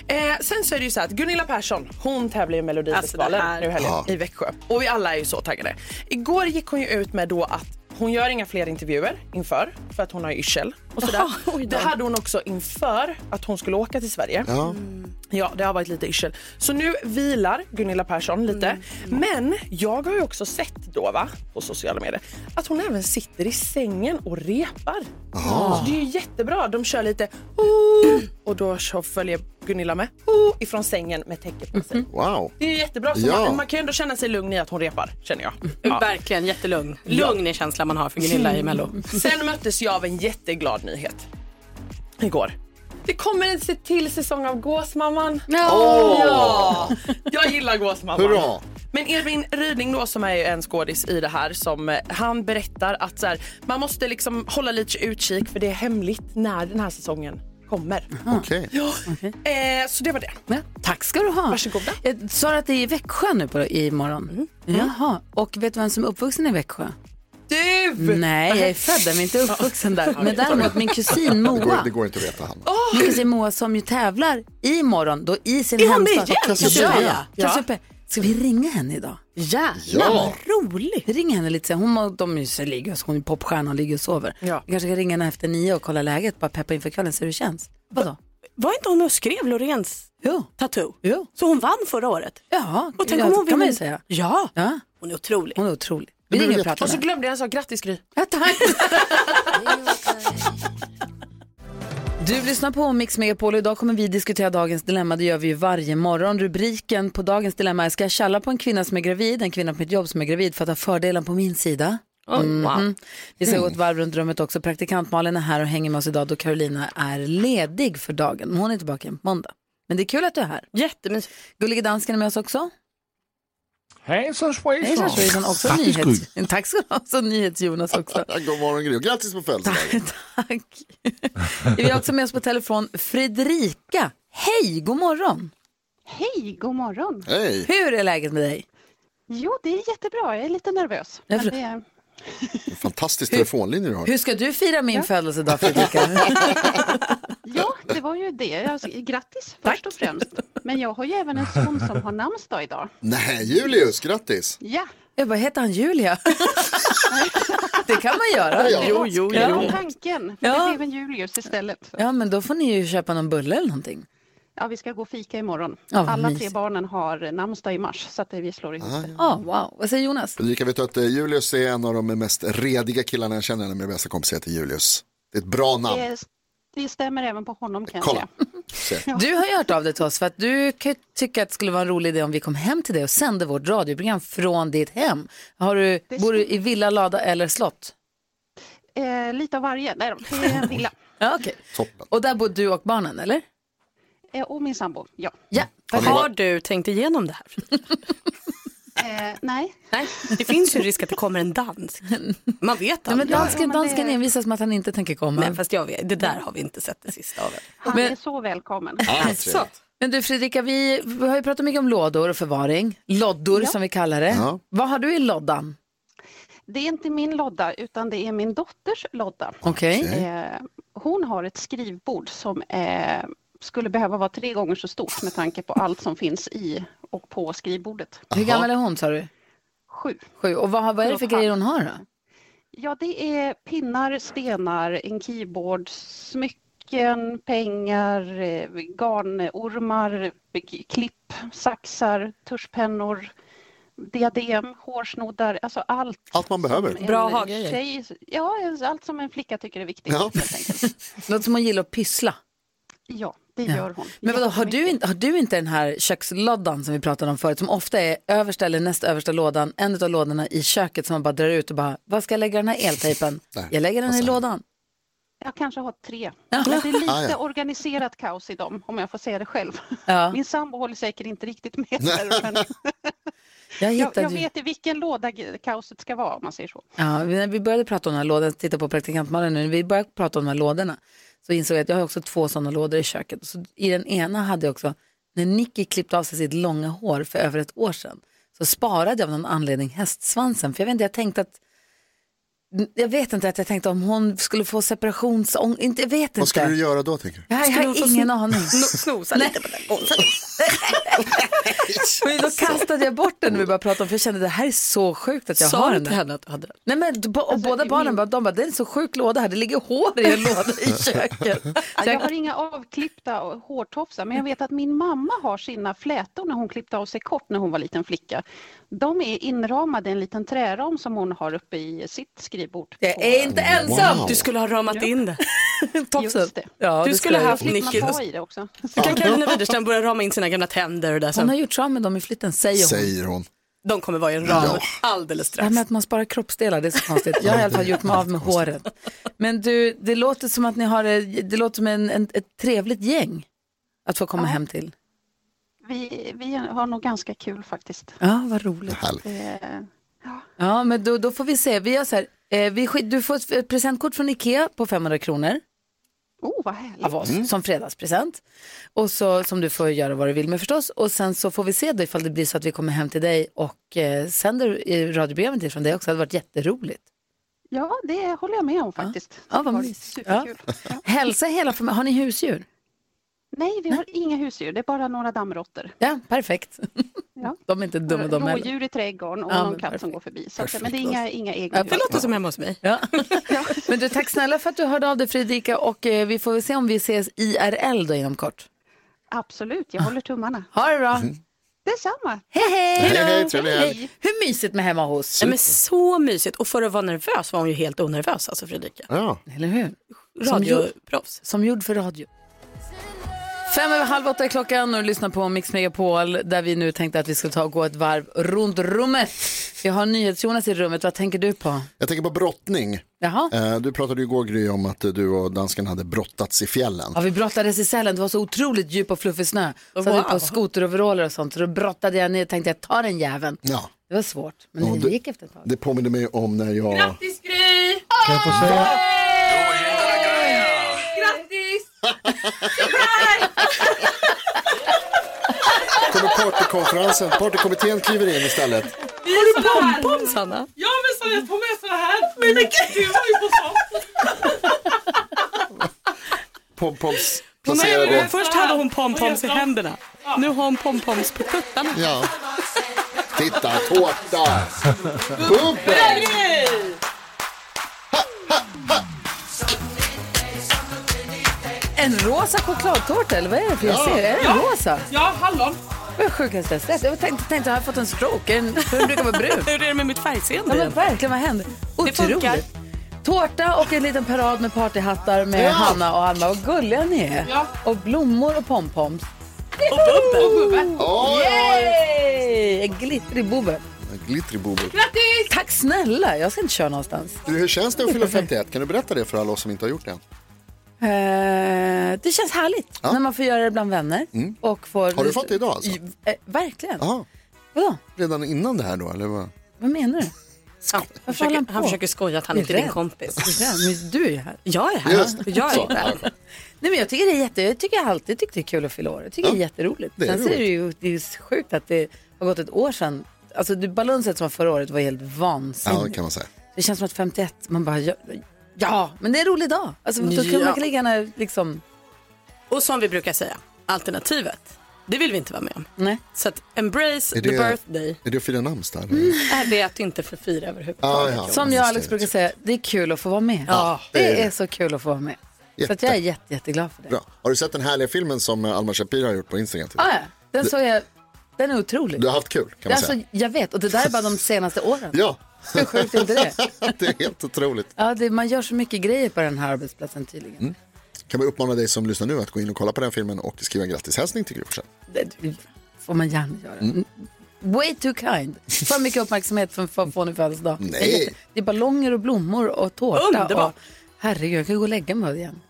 Speaker 4: Eh, sen så är det ju så här att Gunilla Persson, hon tävlar ju i Melodifestivalen
Speaker 7: Alltså, det här-
Speaker 4: nu i helgen
Speaker 7: Ja.
Speaker 4: i Växjö. Och vi alla är ju så taggade. Igår gick hon ju ut med då att hon gör inga fler intervjuer inför för att hon har yrsel och sådär.
Speaker 7: Jaha, [LAUGHS] oj då.
Speaker 4: det hade hon också inför att hon skulle åka till Sverige.
Speaker 2: Ja.
Speaker 4: Ja, det har varit lite yrsel. Så nu vilar Gunilla Persson lite.
Speaker 7: Mm.
Speaker 4: Men jag har ju också sett då va, på sociala medier att hon även sitter i sängen och repar.
Speaker 2: Aha.
Speaker 4: Så det är ju jättebra. De kör lite "Oh", och då så följer Gunilla med "Oh", ifrån sängen med täcket på
Speaker 7: Mhm.
Speaker 4: sig.
Speaker 2: Wow.
Speaker 4: Det är ju jättebra. Så
Speaker 2: Ja.
Speaker 4: man, man kan ju ändå känna sig lugn i att hon repar, känner jag. Ja.
Speaker 7: Mm, Verkligen jättelugn. Lugn är känslan man har för Gunilla i Mello.
Speaker 1: Mm.
Speaker 4: Sen möttes jag av en jätteglad nyhet. Igår. Det kommer en se till säsong av Gåsmamman.
Speaker 7: Åh!
Speaker 4: Ja! Jag gillar Gåsmamman.
Speaker 7: Hurra!
Speaker 4: Men Edvin Ryding då som är ju en skådis i det här som eh, han berättar att så här, man måste liksom hålla lite utkik för det är hemligt när den här säsongen kommer.
Speaker 2: Okej.
Speaker 4: Ja. Eh, så det var det.
Speaker 1: Tack ska du ha.
Speaker 4: Varsågoda.
Speaker 1: Jag sa du att det är i Växjö nu på, imorgon? Jaha, och vet du vem som är uppvuxen i Växjö?
Speaker 4: Du!
Speaker 1: Nej, jag är född där men inte uppvuxen där.
Speaker 2: Ja.
Speaker 1: Men däremot min kusin
Speaker 2: Det går,
Speaker 1: Moa.
Speaker 2: det går inte att veta Hanna.
Speaker 1: Min kusin Moa som ju tävlar imorgon då i sin
Speaker 7: Är hon med
Speaker 1: hemstad.
Speaker 7: igen?
Speaker 1: Cassiopeia.
Speaker 7: Cassiopeia.
Speaker 1: Ja. Cassiopeia. Ska vi ringa henne idag?
Speaker 7: Jävlar, vad
Speaker 1: roligt! Vi ringer henne lite sen. Hon, må- de är ju så- ligger, hon är popstjärna och ligger och sover.
Speaker 7: Ja.
Speaker 1: Vi kanske kan ringa henne efter nio och kolla läget, bara peppa inför kvällen, se hur det känns. Vadå?
Speaker 7: Var inte hon med och skrev Lorens tattoo?
Speaker 1: Jo.
Speaker 7: Så hon vann förra året?
Speaker 1: Ja,
Speaker 7: och tänk
Speaker 1: ja,
Speaker 7: om
Speaker 1: det
Speaker 7: hon
Speaker 1: kan man ju
Speaker 7: vinner.
Speaker 1: säga.
Speaker 7: Ja.
Speaker 1: ja,
Speaker 7: hon är otrolig.
Speaker 1: Hon är otrolig.
Speaker 7: Det
Speaker 1: Vi
Speaker 7: blir
Speaker 1: ringer och
Speaker 7: jättekul.
Speaker 1: pratar
Speaker 4: Och
Speaker 1: med
Speaker 4: så
Speaker 1: henne.
Speaker 4: glömde jag säga grattis Gry.
Speaker 1: Ja, tack. Du lyssnar på Mix Megapol och idag kommer vi diskutera dagens dilemma. Det gör vi ju varje morgon. Rubriken på dagens dilemma är Ska jag tjalla på en kvinna som är gravid, en kvinna på mitt jobb som är gravid för att ha fördelen på min sida?
Speaker 7: Oj, wow.
Speaker 1: Mhm. Vi ska gå ett varv runt rummet också. Praktikant Malin är här och hänger med oss idag då Carolina är ledig för dagen. Men Hon är tillbaka på måndag. Men det är kul att du är här.
Speaker 7: Jättemysigt.
Speaker 1: Gullige dansken är med oss också.
Speaker 3: Hejsan svejsan.
Speaker 1: Hejsan svejsan. Också
Speaker 2: Grattis,
Speaker 1: nyhets... [LAUGHS] Tack ska du ha. Också nyhets-Jonas också.
Speaker 2: [LAUGHS] God morgon Gry. Grattis på födelsedagen.
Speaker 1: Vi har också med oss på telefon Fredrika. Hej, god morgon.
Speaker 16: Hej, god morgon!
Speaker 2: Hej.
Speaker 1: Hur är läget med dig?
Speaker 16: Jo, det är jättebra. Jag är lite nervös.
Speaker 1: Jag
Speaker 16: men
Speaker 1: förstår.
Speaker 16: det är-
Speaker 2: Fantastisk telefonlinje du har.
Speaker 1: Hur ska du fira min födelsedag Fredrika?
Speaker 16: Ja, det var ju det. Alltså, grattis först och främst. Men jag har ju även en son som har namnsdag idag.
Speaker 2: [LAUGHS] Nej, Julius, grattis.
Speaker 16: Ja.
Speaker 1: Jag bara, heter han Julia? det kan man göra.
Speaker 16: Det var- Det var tanken. För Det blev en Julius istället.
Speaker 1: Ja, men då får ni ju köpa någon bulle eller någonting.
Speaker 16: Ja, vi ska gå och fika imorgon.
Speaker 1: Ja, vad
Speaker 16: Alla tre
Speaker 1: mysigt.
Speaker 16: barnen har namnsdag i mars, så att det- vi slår
Speaker 2: Ah,
Speaker 16: ihop det.
Speaker 1: Ja, wow. Vad säger Jonas?
Speaker 2: Ulrika, vet du att eh, Julius är en av de mest rediga killarna jag känner. En av mina bästa kompisar heter Julius. Det är ett bra namn.
Speaker 16: Det, Eh, det stämmer även på honom kan jag
Speaker 2: Kolla.
Speaker 16: säga.
Speaker 1: Du har ju hört av dig till oss för att du kan ju tycka att det skulle vara en rolig idé om vi kom hem till dig och sände vårt radioprogram från ditt hem. Har du, bor du i villa, lada eller slott?
Speaker 16: Eh, lite av varje. Nej, då, det är en villa.
Speaker 1: [LAUGHS] Ja, okej. [LAUGHS] Och där bor du och barnen, eller?
Speaker 16: Eh, och min sambo, ja.
Speaker 1: Ja.
Speaker 7: Har, du tänkt igenom det här?
Speaker 16: Eh, nej.
Speaker 7: Nej, det finns ju en risk att det kommer en dansk. Man vet
Speaker 1: [LAUGHS] Ja, men
Speaker 7: aldrig.
Speaker 1: dansken, dansken envisas med att han inte tänker komma.
Speaker 7: Men fast jag vet, det där har vi inte sett det sista av.
Speaker 16: Han är så välkommen.
Speaker 2: Ah,
Speaker 1: [LAUGHS]
Speaker 7: Alltså.
Speaker 1: Men du Fredrika, vi, vi har ju pratat mycket om lådor och förvaring. Loddor
Speaker 16: Ja.
Speaker 1: som vi kallar det.
Speaker 16: Ja.
Speaker 1: Vad har du i loddan?
Speaker 16: Det är inte min lodda, utan det är min dotters lodda.
Speaker 1: Okej.
Speaker 16: Eh, hon har ett skrivbord som eh, skulle behöva vara tre gånger så stort med tanke på allt som finns i och på skrivbordet.
Speaker 1: Hur gammal är hon sa du?
Speaker 16: Sju.
Speaker 1: Sju. Och vad, har- vad är det för
Speaker 16: Sju och
Speaker 1: grejer hon har då?
Speaker 16: Ja, det är pinnar, stenar, en keyboard, smycken, pengar, eh, garnormar, k- klipp, saxar, tuschpennor, diadem, hårsnoddar, alltså allt.
Speaker 2: Allt man behöver.
Speaker 16: som en
Speaker 1: Bra ha-grejer.
Speaker 16: tjej- Ja, allt som en flicka tycker är viktigt.
Speaker 1: Ja. [LAUGHS] Något som hon gillar att pyssla.
Speaker 16: Ja, det
Speaker 1: Ja.
Speaker 16: gör hon.
Speaker 1: Men vadå, har du, inte, har du inte den här köksloddan som vi pratade om förut som ofta är översta eller näst översta lådan, en av lådorna i köket som man bara drar ut och bara, vad ska jag lägga den här eltejpen?
Speaker 2: Nej,
Speaker 1: jag lägger den i
Speaker 2: vad sa
Speaker 1: lådan.
Speaker 16: Jag kanske har tre. Men det är lite
Speaker 1: Ah, ja.
Speaker 16: organiserat kaos i dem, om jag får säga det själv.
Speaker 1: Ja.
Speaker 16: Min sambo håller säkert inte riktigt med. Där, men
Speaker 1: Jag
Speaker 16: jag,
Speaker 1: hittade
Speaker 16: jag
Speaker 1: ju-
Speaker 16: vet i vilken låda g- kaoset ska vara, om man säger så.
Speaker 1: Ja, vi- när vi började prata om de här lådorna, titta på praktikantmannen nu, när vi började prata om de här lådorna så insåg jag att jag har också två sådana lådor i köket. Så I den ena hade jag också, när Nicky klippte av sig sitt långa hår för över ett år sedan, så sparade jag av någon anledning hästsvansen. För jag vet inte, jag tänkte att jag vet inte att jag tänkte om hon skulle få separationsång, inte, jag vet
Speaker 2: Vad
Speaker 1: inte.
Speaker 2: skulle du göra då tänker du?
Speaker 1: Jag har, jag
Speaker 7: Skulle
Speaker 1: har
Speaker 7: du få
Speaker 1: ingen
Speaker 7: sno- [LAUGHS]
Speaker 1: aning.
Speaker 7: Snosa lite på den golvet.
Speaker 1: Men då kastade jag bort den när vi började prata om för jag kände det här är så sjukt att jag
Speaker 7: Sa
Speaker 1: har
Speaker 7: du
Speaker 1: den.
Speaker 7: till
Speaker 1: där.
Speaker 7: henne att du hade den?
Speaker 1: Nej men b- och
Speaker 16: Alltså,
Speaker 1: båda barnen bara, de bara, det är en så sjuk låda här, det ligger hår i
Speaker 16: [LAUGHS]
Speaker 1: en låda i köket.
Speaker 16: Ja,
Speaker 1: Så
Speaker 16: Jag
Speaker 1: jag-
Speaker 16: har inga avklippta och- hårtofsar, men jag vet att min mamma har sina flätor när hon klippte av sig kort när hon var liten flicka. De är inramade i en liten träram som hon har uppe i sitt skrivbord.
Speaker 7: Jag är inte ensam. Du skulle ha ramat
Speaker 16: Ja.
Speaker 7: in det.
Speaker 1: Topsen.
Speaker 16: [LAUGHS] Just det.
Speaker 7: Ja, du skulle ha haft
Speaker 16: Slipper man
Speaker 7: Nicky.
Speaker 16: ta i det också.
Speaker 7: Du kan Karolina Widerström börja rama in sina gamla tänder och där
Speaker 1: Hon
Speaker 7: sen.
Speaker 1: har gjort sig av med dem i flytten, säger hon.
Speaker 2: Säger hon.
Speaker 7: De kommer vara i en ram
Speaker 1: Ja.
Speaker 7: alldeles
Speaker 1: Det här
Speaker 7: strax.
Speaker 1: med att man sparar kroppsdelar, det är så konstigt. Jag har i alla fall gjort mig av med håret. Men du, det låter som att ni har det, det låter som en, en, ett trevligt gäng att få komma hem till.
Speaker 16: Vi, vi har nog ganska kul faktiskt.
Speaker 1: Ja, vad roligt.
Speaker 16: Eh,
Speaker 1: Ja, men då, då får vi se. Vi gör så här, eh, vi, skick- du får ett f- presentkort från Ikea på 500 kronor.
Speaker 16: Oh, vad härligt.
Speaker 1: Av oss, som fredagspresent. Och så, som du får göra vad du vill med förstås. Och sen så får vi se då ifall det blir så att vi kommer hem till dig och eh, sänder eh, radioprogrammet ifrån dig också. Det hade varit jätteroligt.
Speaker 16: Ja, det håller jag med om faktiskt.
Speaker 1: Ja, vad
Speaker 16: Det var
Speaker 1: mysigt.
Speaker 16: Superkul.
Speaker 1: Hälsa hela familjen. Har ni husdjur?
Speaker 16: Nej, vi har inga husdjur, det är bara några dammråttor.
Speaker 1: Ja, perfekt.
Speaker 16: Ja.
Speaker 1: De är inte dumma de heller.
Speaker 16: Rådjur i trädgården och
Speaker 1: Ja,
Speaker 16: någon
Speaker 1: men
Speaker 16: katt som går förbi. Så att, men
Speaker 1: Perfekt,
Speaker 16: det är inga, inga egna
Speaker 1: Ja,
Speaker 16: djur.
Speaker 1: det låter som
Speaker 7: hemma hos mig.
Speaker 1: Ja. Men du, tack snälla för att du hörde av dig Fredrika och eh, vi får väl se om vi ses IRL då inom kort.
Speaker 16: Absolut, jag håller tummarna.
Speaker 1: Ha det bra.
Speaker 16: Detsamma.
Speaker 1: Hej hej!
Speaker 7: Hej, hej, trevlig helg.
Speaker 1: Hur mysigt med hemma hos?
Speaker 7: Nej, men så mysigt. Och för att vara nervös var hon ju helt onervös, alltså Fredrika.
Speaker 2: Ja.
Speaker 1: Eller hur?
Speaker 7: Radioproffs.
Speaker 1: Som gjord för radio. Fem över halv åtta är klockan och du lyssnar på Mix Megapol där vi nu tänkte att vi skulle ta och gå ett varv runt rummet. Vi har NyhetsJonas i rummet, vad tänker du på?
Speaker 2: Jag tänker på brottning.
Speaker 1: [LAUGHS] Jaha.
Speaker 2: Eh, Du pratade ju igår Gry om att eh, du och dansken hade brottats i fjällen.
Speaker 1: Ja, vi brottades i Sälen, det var så otroligt djup och fluffig snö. Så hade vi på
Speaker 2: Wow.
Speaker 1: skoteroveraller och sånt, så då brottade jag ner och tänkte jag tar den jäveln.
Speaker 2: Ja.
Speaker 1: Det var svårt, men
Speaker 2: Och
Speaker 1: det
Speaker 2: du-
Speaker 1: gick efter ett tag.
Speaker 2: Det påminner mig om när jag...
Speaker 1: Grattis Gry!
Speaker 2: Kan jag få säga?
Speaker 1: Grattis!
Speaker 2: Kommer partykonferensen, partykommittén kliver in istället.
Speaker 7: Har du pompom Sanna?
Speaker 17: Ja men så jag tog med såna här. Men men gud! Du var ju på sånt.
Speaker 2: Pompoms
Speaker 7: Nej,
Speaker 2: placerade.
Speaker 7: Först hade hon pompoms i händerna. Nu har hon pompoms på tuttarna.
Speaker 2: Ja. Titta, tårta! Bubben!
Speaker 1: En rosa chokladtårta eller vad är det för jag
Speaker 17: Ja.
Speaker 1: ser? Är det en
Speaker 17: Ja.
Speaker 1: rosa?
Speaker 17: Ja, hallon.
Speaker 1: Det var sjukaste jag sett. Jag tänkte, tänkte har jag fått en stroke? Är den- För den brukar
Speaker 7: [LAUGHS]
Speaker 1: vara brun.
Speaker 7: Hur är det med mitt
Speaker 1: Ja,
Speaker 7: färgseende?
Speaker 1: men verkligen, vad hände? Otroligt. Tårta och en liten parad med partyhattar med
Speaker 7: Ja.
Speaker 1: Hanna och Alma. Vad gulliga ni är.
Speaker 17: Ja.
Speaker 1: Och blommor och pompoms.
Speaker 17: Och bubbel. Och bubbel.
Speaker 1: Yay! En glittrig bobbe.
Speaker 2: Glittrig bobo.
Speaker 1: Grattis! Tack snälla, jag ska inte köra någonstans.
Speaker 2: Du, Hur känns det att fylla 51? Kan du berätta det för alla oss som inte har gjort det än?
Speaker 1: Eh, det känns härligt när man får göra det bland vänner.
Speaker 2: Mm.
Speaker 1: Och får
Speaker 2: Har du fått det idag alltså?
Speaker 1: I- eh, verkligen.
Speaker 2: Aha.
Speaker 1: Vadå?
Speaker 2: Redan innan det här då? Eller vad?
Speaker 1: Vad menar du?
Speaker 7: Han
Speaker 1: håller han
Speaker 7: försöker,
Speaker 1: på?
Speaker 7: han försöker skoja att han
Speaker 1: Jag är
Speaker 7: inte är din
Speaker 1: rädd.
Speaker 7: kompis.
Speaker 1: Jag är rädd, men Du är ju här.
Speaker 7: Jag är här.
Speaker 1: Just.
Speaker 7: Jag är
Speaker 1: Så.
Speaker 7: inte här.
Speaker 1: Nej, men jag tycker det är jätte, jag tycker jag alltid tyckte det är kul att fylla år. Jag tycker det är jätteroligt.
Speaker 7: det är
Speaker 1: Sen så är det ju det är sjukt att det har gått ett år sedan. Alltså det balanset som var förra året var helt vansinnigt.
Speaker 2: Ja, det kan man säga.
Speaker 1: Det känns som att 51, man bara ja, ja men det är en rolig dag. Alltså då kan man
Speaker 7: Ja.
Speaker 1: lika gärna liksom.
Speaker 7: Och som vi brukar säga, alternativet, det vill vi inte vara med om.
Speaker 1: Nej.
Speaker 7: Så att embrace
Speaker 2: Är
Speaker 7: the
Speaker 2: det-
Speaker 7: birthday
Speaker 2: Är det att fira namnsdag?
Speaker 1: Mm.
Speaker 7: är
Speaker 2: eller?
Speaker 7: det att inte förfira
Speaker 2: Ah,
Speaker 7: överhuvudtaget.
Speaker 2: ja.
Speaker 1: Som jag och Alex brukar säga, det är kul att få vara med.
Speaker 2: Ja,
Speaker 1: det,
Speaker 2: det är
Speaker 1: är
Speaker 2: det.
Speaker 1: så kul att få vara med. Så att
Speaker 2: Jätte.
Speaker 1: jag är jätte, jätteglad för det.
Speaker 2: Bra. Har du sett den härliga filmen som eh, Alma Shapiro har gjort på Instagram?
Speaker 1: Ah, ja. Den såg jag, den är otrolig.
Speaker 2: Du har haft kul kan man
Speaker 1: alltså,
Speaker 2: säga.
Speaker 1: jag vet, och det där är bara de
Speaker 2: [LAUGHS]
Speaker 1: senaste åren.
Speaker 2: Ja.
Speaker 1: Hur sjukt är inte det?
Speaker 2: [LAUGHS] det är helt otroligt.
Speaker 1: Ja, det, man gör så mycket grejer på den här arbetsplatsen tydligen.
Speaker 2: Kan vi uppmana dig som lyssnar nu att gå in och kolla på den filmen och skriva en grattishälsning till Gry Forssell?
Speaker 1: Det får man gärna göra.
Speaker 2: Mm.
Speaker 1: Way too kind. För mycket uppmärksamhet för en fånig födelsedag.
Speaker 2: Nej.
Speaker 1: Det är ballonger och blommor och tårta.
Speaker 7: Underbart.
Speaker 1: Och, herregud, jag kan gå och lägga mig igen.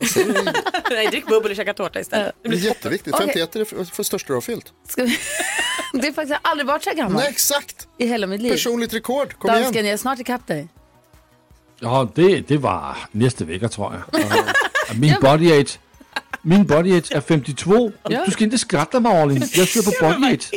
Speaker 7: Nej, drick bubbel och käka tårta istället.
Speaker 2: Det är jätteviktigt.
Speaker 1: Okej.
Speaker 2: 51 är det för, för största du har fyllt.
Speaker 1: Ska vi... [LAUGHS] det är faktiskt, jag har aldrig varit så här gammal.
Speaker 2: Nej, exakt.
Speaker 1: I hela mitt liv.
Speaker 2: Personligt rekord, kom
Speaker 1: Dansken,
Speaker 2: igen.
Speaker 1: jag är snart ikapp dig.
Speaker 3: Ja, det, det var nästa vecka tror
Speaker 1: [LAUGHS]
Speaker 3: jag. Min body age, min body age är 52.
Speaker 1: Ja.
Speaker 3: Du ska inte skratta mig Arlin. Jag kör på body age.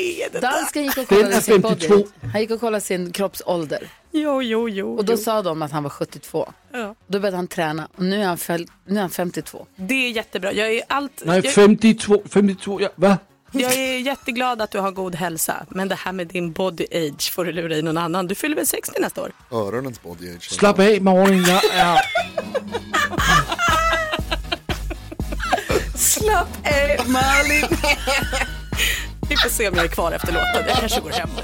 Speaker 1: Dansken gick och
Speaker 3: Den
Speaker 1: kollade
Speaker 3: är
Speaker 1: sin
Speaker 3: 52.
Speaker 1: body. Han gick och kollade sin kroppsålder.
Speaker 7: Jo, jo, jo.
Speaker 1: Och då sa de att han var 72.
Speaker 7: Ja.
Speaker 1: Då började han träna och nu är han, föl- nu är han 52.
Speaker 7: Det är jättebra. Jag är, allt,
Speaker 3: Nej,
Speaker 7: jag,
Speaker 3: 52, 52, ja, va?
Speaker 7: jag är jätteglad att du har god hälsa, men det här med din body age får du lura i någon annan. Du fyller väl 60 nästa år?
Speaker 2: Öronens body age.
Speaker 3: Slapp av med Arlin. Jag är...
Speaker 7: Slapp
Speaker 1: eh,
Speaker 7: av Malin! [LAUGHS] Vi får se om jag är kvar efter låten. Jag kanske går hem nu.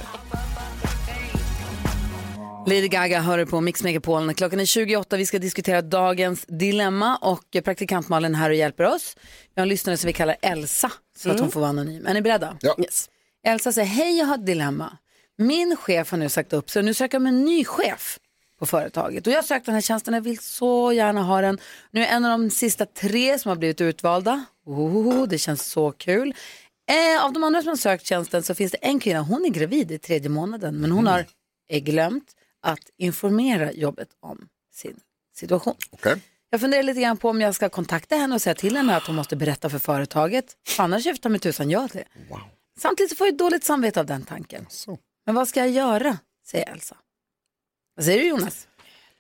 Speaker 1: Lady Gaga hör du på Mix Megapol. Klockan är 28. Vi ska diskutera dagens dilemma och praktikant Malin är här och hjälper oss. Vi har en lyssnare som vi kallar Elsa så att
Speaker 7: Mm.
Speaker 1: hon får vara anonym. Är ni beredda?
Speaker 2: Ja.
Speaker 1: Elsa säger, hej jag har ett dilemma. Min chef har nu sagt upp sig och nu söker jag en ny chef på företaget. Och jag har sökt den här tjänsten, jag vill så gärna ha den. Nu är en av de sista tre som har blivit utvalda. Oh, det känns så kul. Eh, av de andra som har sökt tjänsten så finns det en kvinna, hon är gravid i tredje månaden, men hon har eh, glömt att informera jobbet om sin situation.
Speaker 2: Okej.
Speaker 1: Jag funderar lite grann på om jag ska kontakta henne och säga till henne att hon måste berätta för företaget. För annars är jag ta mig tusan ja till det. Samtidigt så får jag dåligt samvete av den tanken. Men vad ska jag göra, säger Elsa. Vad säger du Jonas?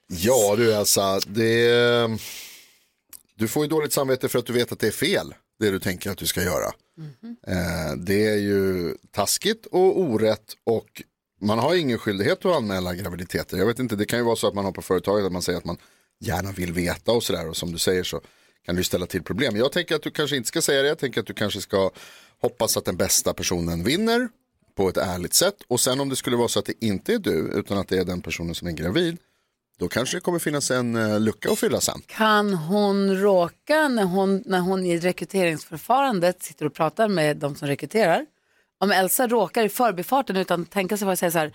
Speaker 2: Ja du Elsa, det... du får ju dåligt samvete för att du vet att det är fel det du tänker att du ska göra. Eh, Det är ju taskigt och orätt och man har ingen skyldighet att anmäla graviditeter. Jag vet inte, det kan ju vara så att man har på företaget att man säger att man gärna vill veta och sådär och som du säger så kan du ställa till problem. Jag tänker att du kanske inte ska säga det, jag tänker att du kanske ska hoppas att den bästa personen vinner på ett ärligt sätt och sen om det skulle vara så att det inte är du utan att det är den personen som är gravid då kanske det kommer finnas en eh, lucka att fylla sen.
Speaker 1: Kan hon råka när hon, när hon i rekryteringsförfarandet sitter och pratar med de som rekryterar? Om Elsa råkar i förbifarten utan att tänka sig för att säga så här,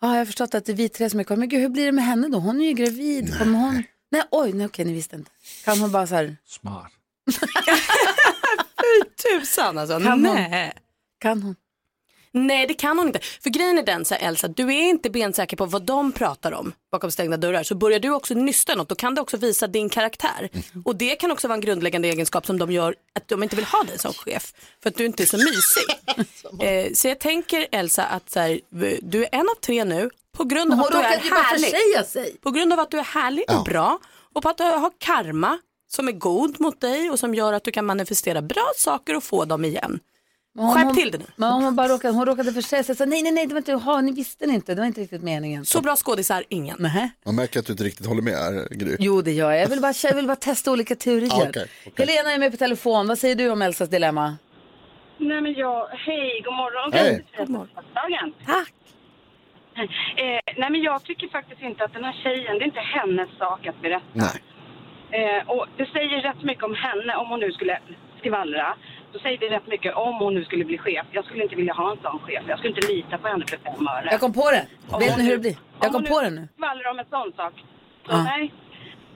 Speaker 1: ah, jag har förstått att det är vi tre som är kvar, men gud hur blir det med henne då? Hon är ju gravid, kommer hon? Nej, oj, nej okej, ni visste inte. Kan hon bara så här,
Speaker 3: Smart.
Speaker 7: Tusan alltså.
Speaker 1: Kan hon?
Speaker 7: Nej.
Speaker 1: kan hon?
Speaker 7: Nej det kan hon inte. För grejen är den så här, Elsa, du är inte bensäker på vad de pratar om bakom stängda dörrar. Så börjar du också nysta något då kan det också visa din karaktär. Och det kan också vara en grundläggande egenskap som de gör att de inte vill ha dig som chef. För att du inte är så
Speaker 1: [LAUGHS]
Speaker 7: mysig. eh, så jag tänker Elsa att så här, du är en av tre nu på grund av
Speaker 1: Hon
Speaker 7: att du är
Speaker 1: råkade ju bara försäga
Speaker 7: härlig.
Speaker 1: sig.
Speaker 7: På grund av att du är härlig och bra och på att du har karma som är god mot dig och som gör att du kan manifestera bra saker och få dem igen.
Speaker 1: Om
Speaker 7: Skärp
Speaker 1: hon-
Speaker 7: till det nu.
Speaker 1: Men om hon, bara råkade, hon råkade försäga sig. Så, nej, nej, nej, det var inte, ha, ni visste ni inte. Det var inte riktigt meningen.
Speaker 7: Så bra skådisar, ingen.
Speaker 1: Nej.
Speaker 2: Man märker att du inte riktigt håller med här, Gry.
Speaker 1: Jo, det gör jag. Jag vill bara, jag vill bara testa olika teorier.
Speaker 2: Ah, okej, okej.
Speaker 1: Helena är med på telefon. Vad säger du om Elsas dilemma?
Speaker 12: Nej men jag, hej, god morgon.
Speaker 1: Hej.
Speaker 12: God morgon. Tack. Eh, nej men jag tycker faktiskt inte att den här tjejen, det är inte hennes sak att berätta.
Speaker 2: Nej.
Speaker 12: Eh, och det säger rätt mycket om henne om hon nu skulle skvallra. Då säger det rätt mycket om hon nu skulle bli chef. Jag skulle inte vilja ha en sån chef. Jag skulle inte lita på henne för fem öre.
Speaker 1: Jag kom på det.
Speaker 12: Om
Speaker 1: Vet
Speaker 12: hon
Speaker 1: ni hur
Speaker 12: nu-
Speaker 1: det blir? Jag
Speaker 12: om
Speaker 1: kom
Speaker 12: hon
Speaker 1: på det nu.
Speaker 12: skvallrar om en sån sak. Så
Speaker 1: Ja.
Speaker 12: nej.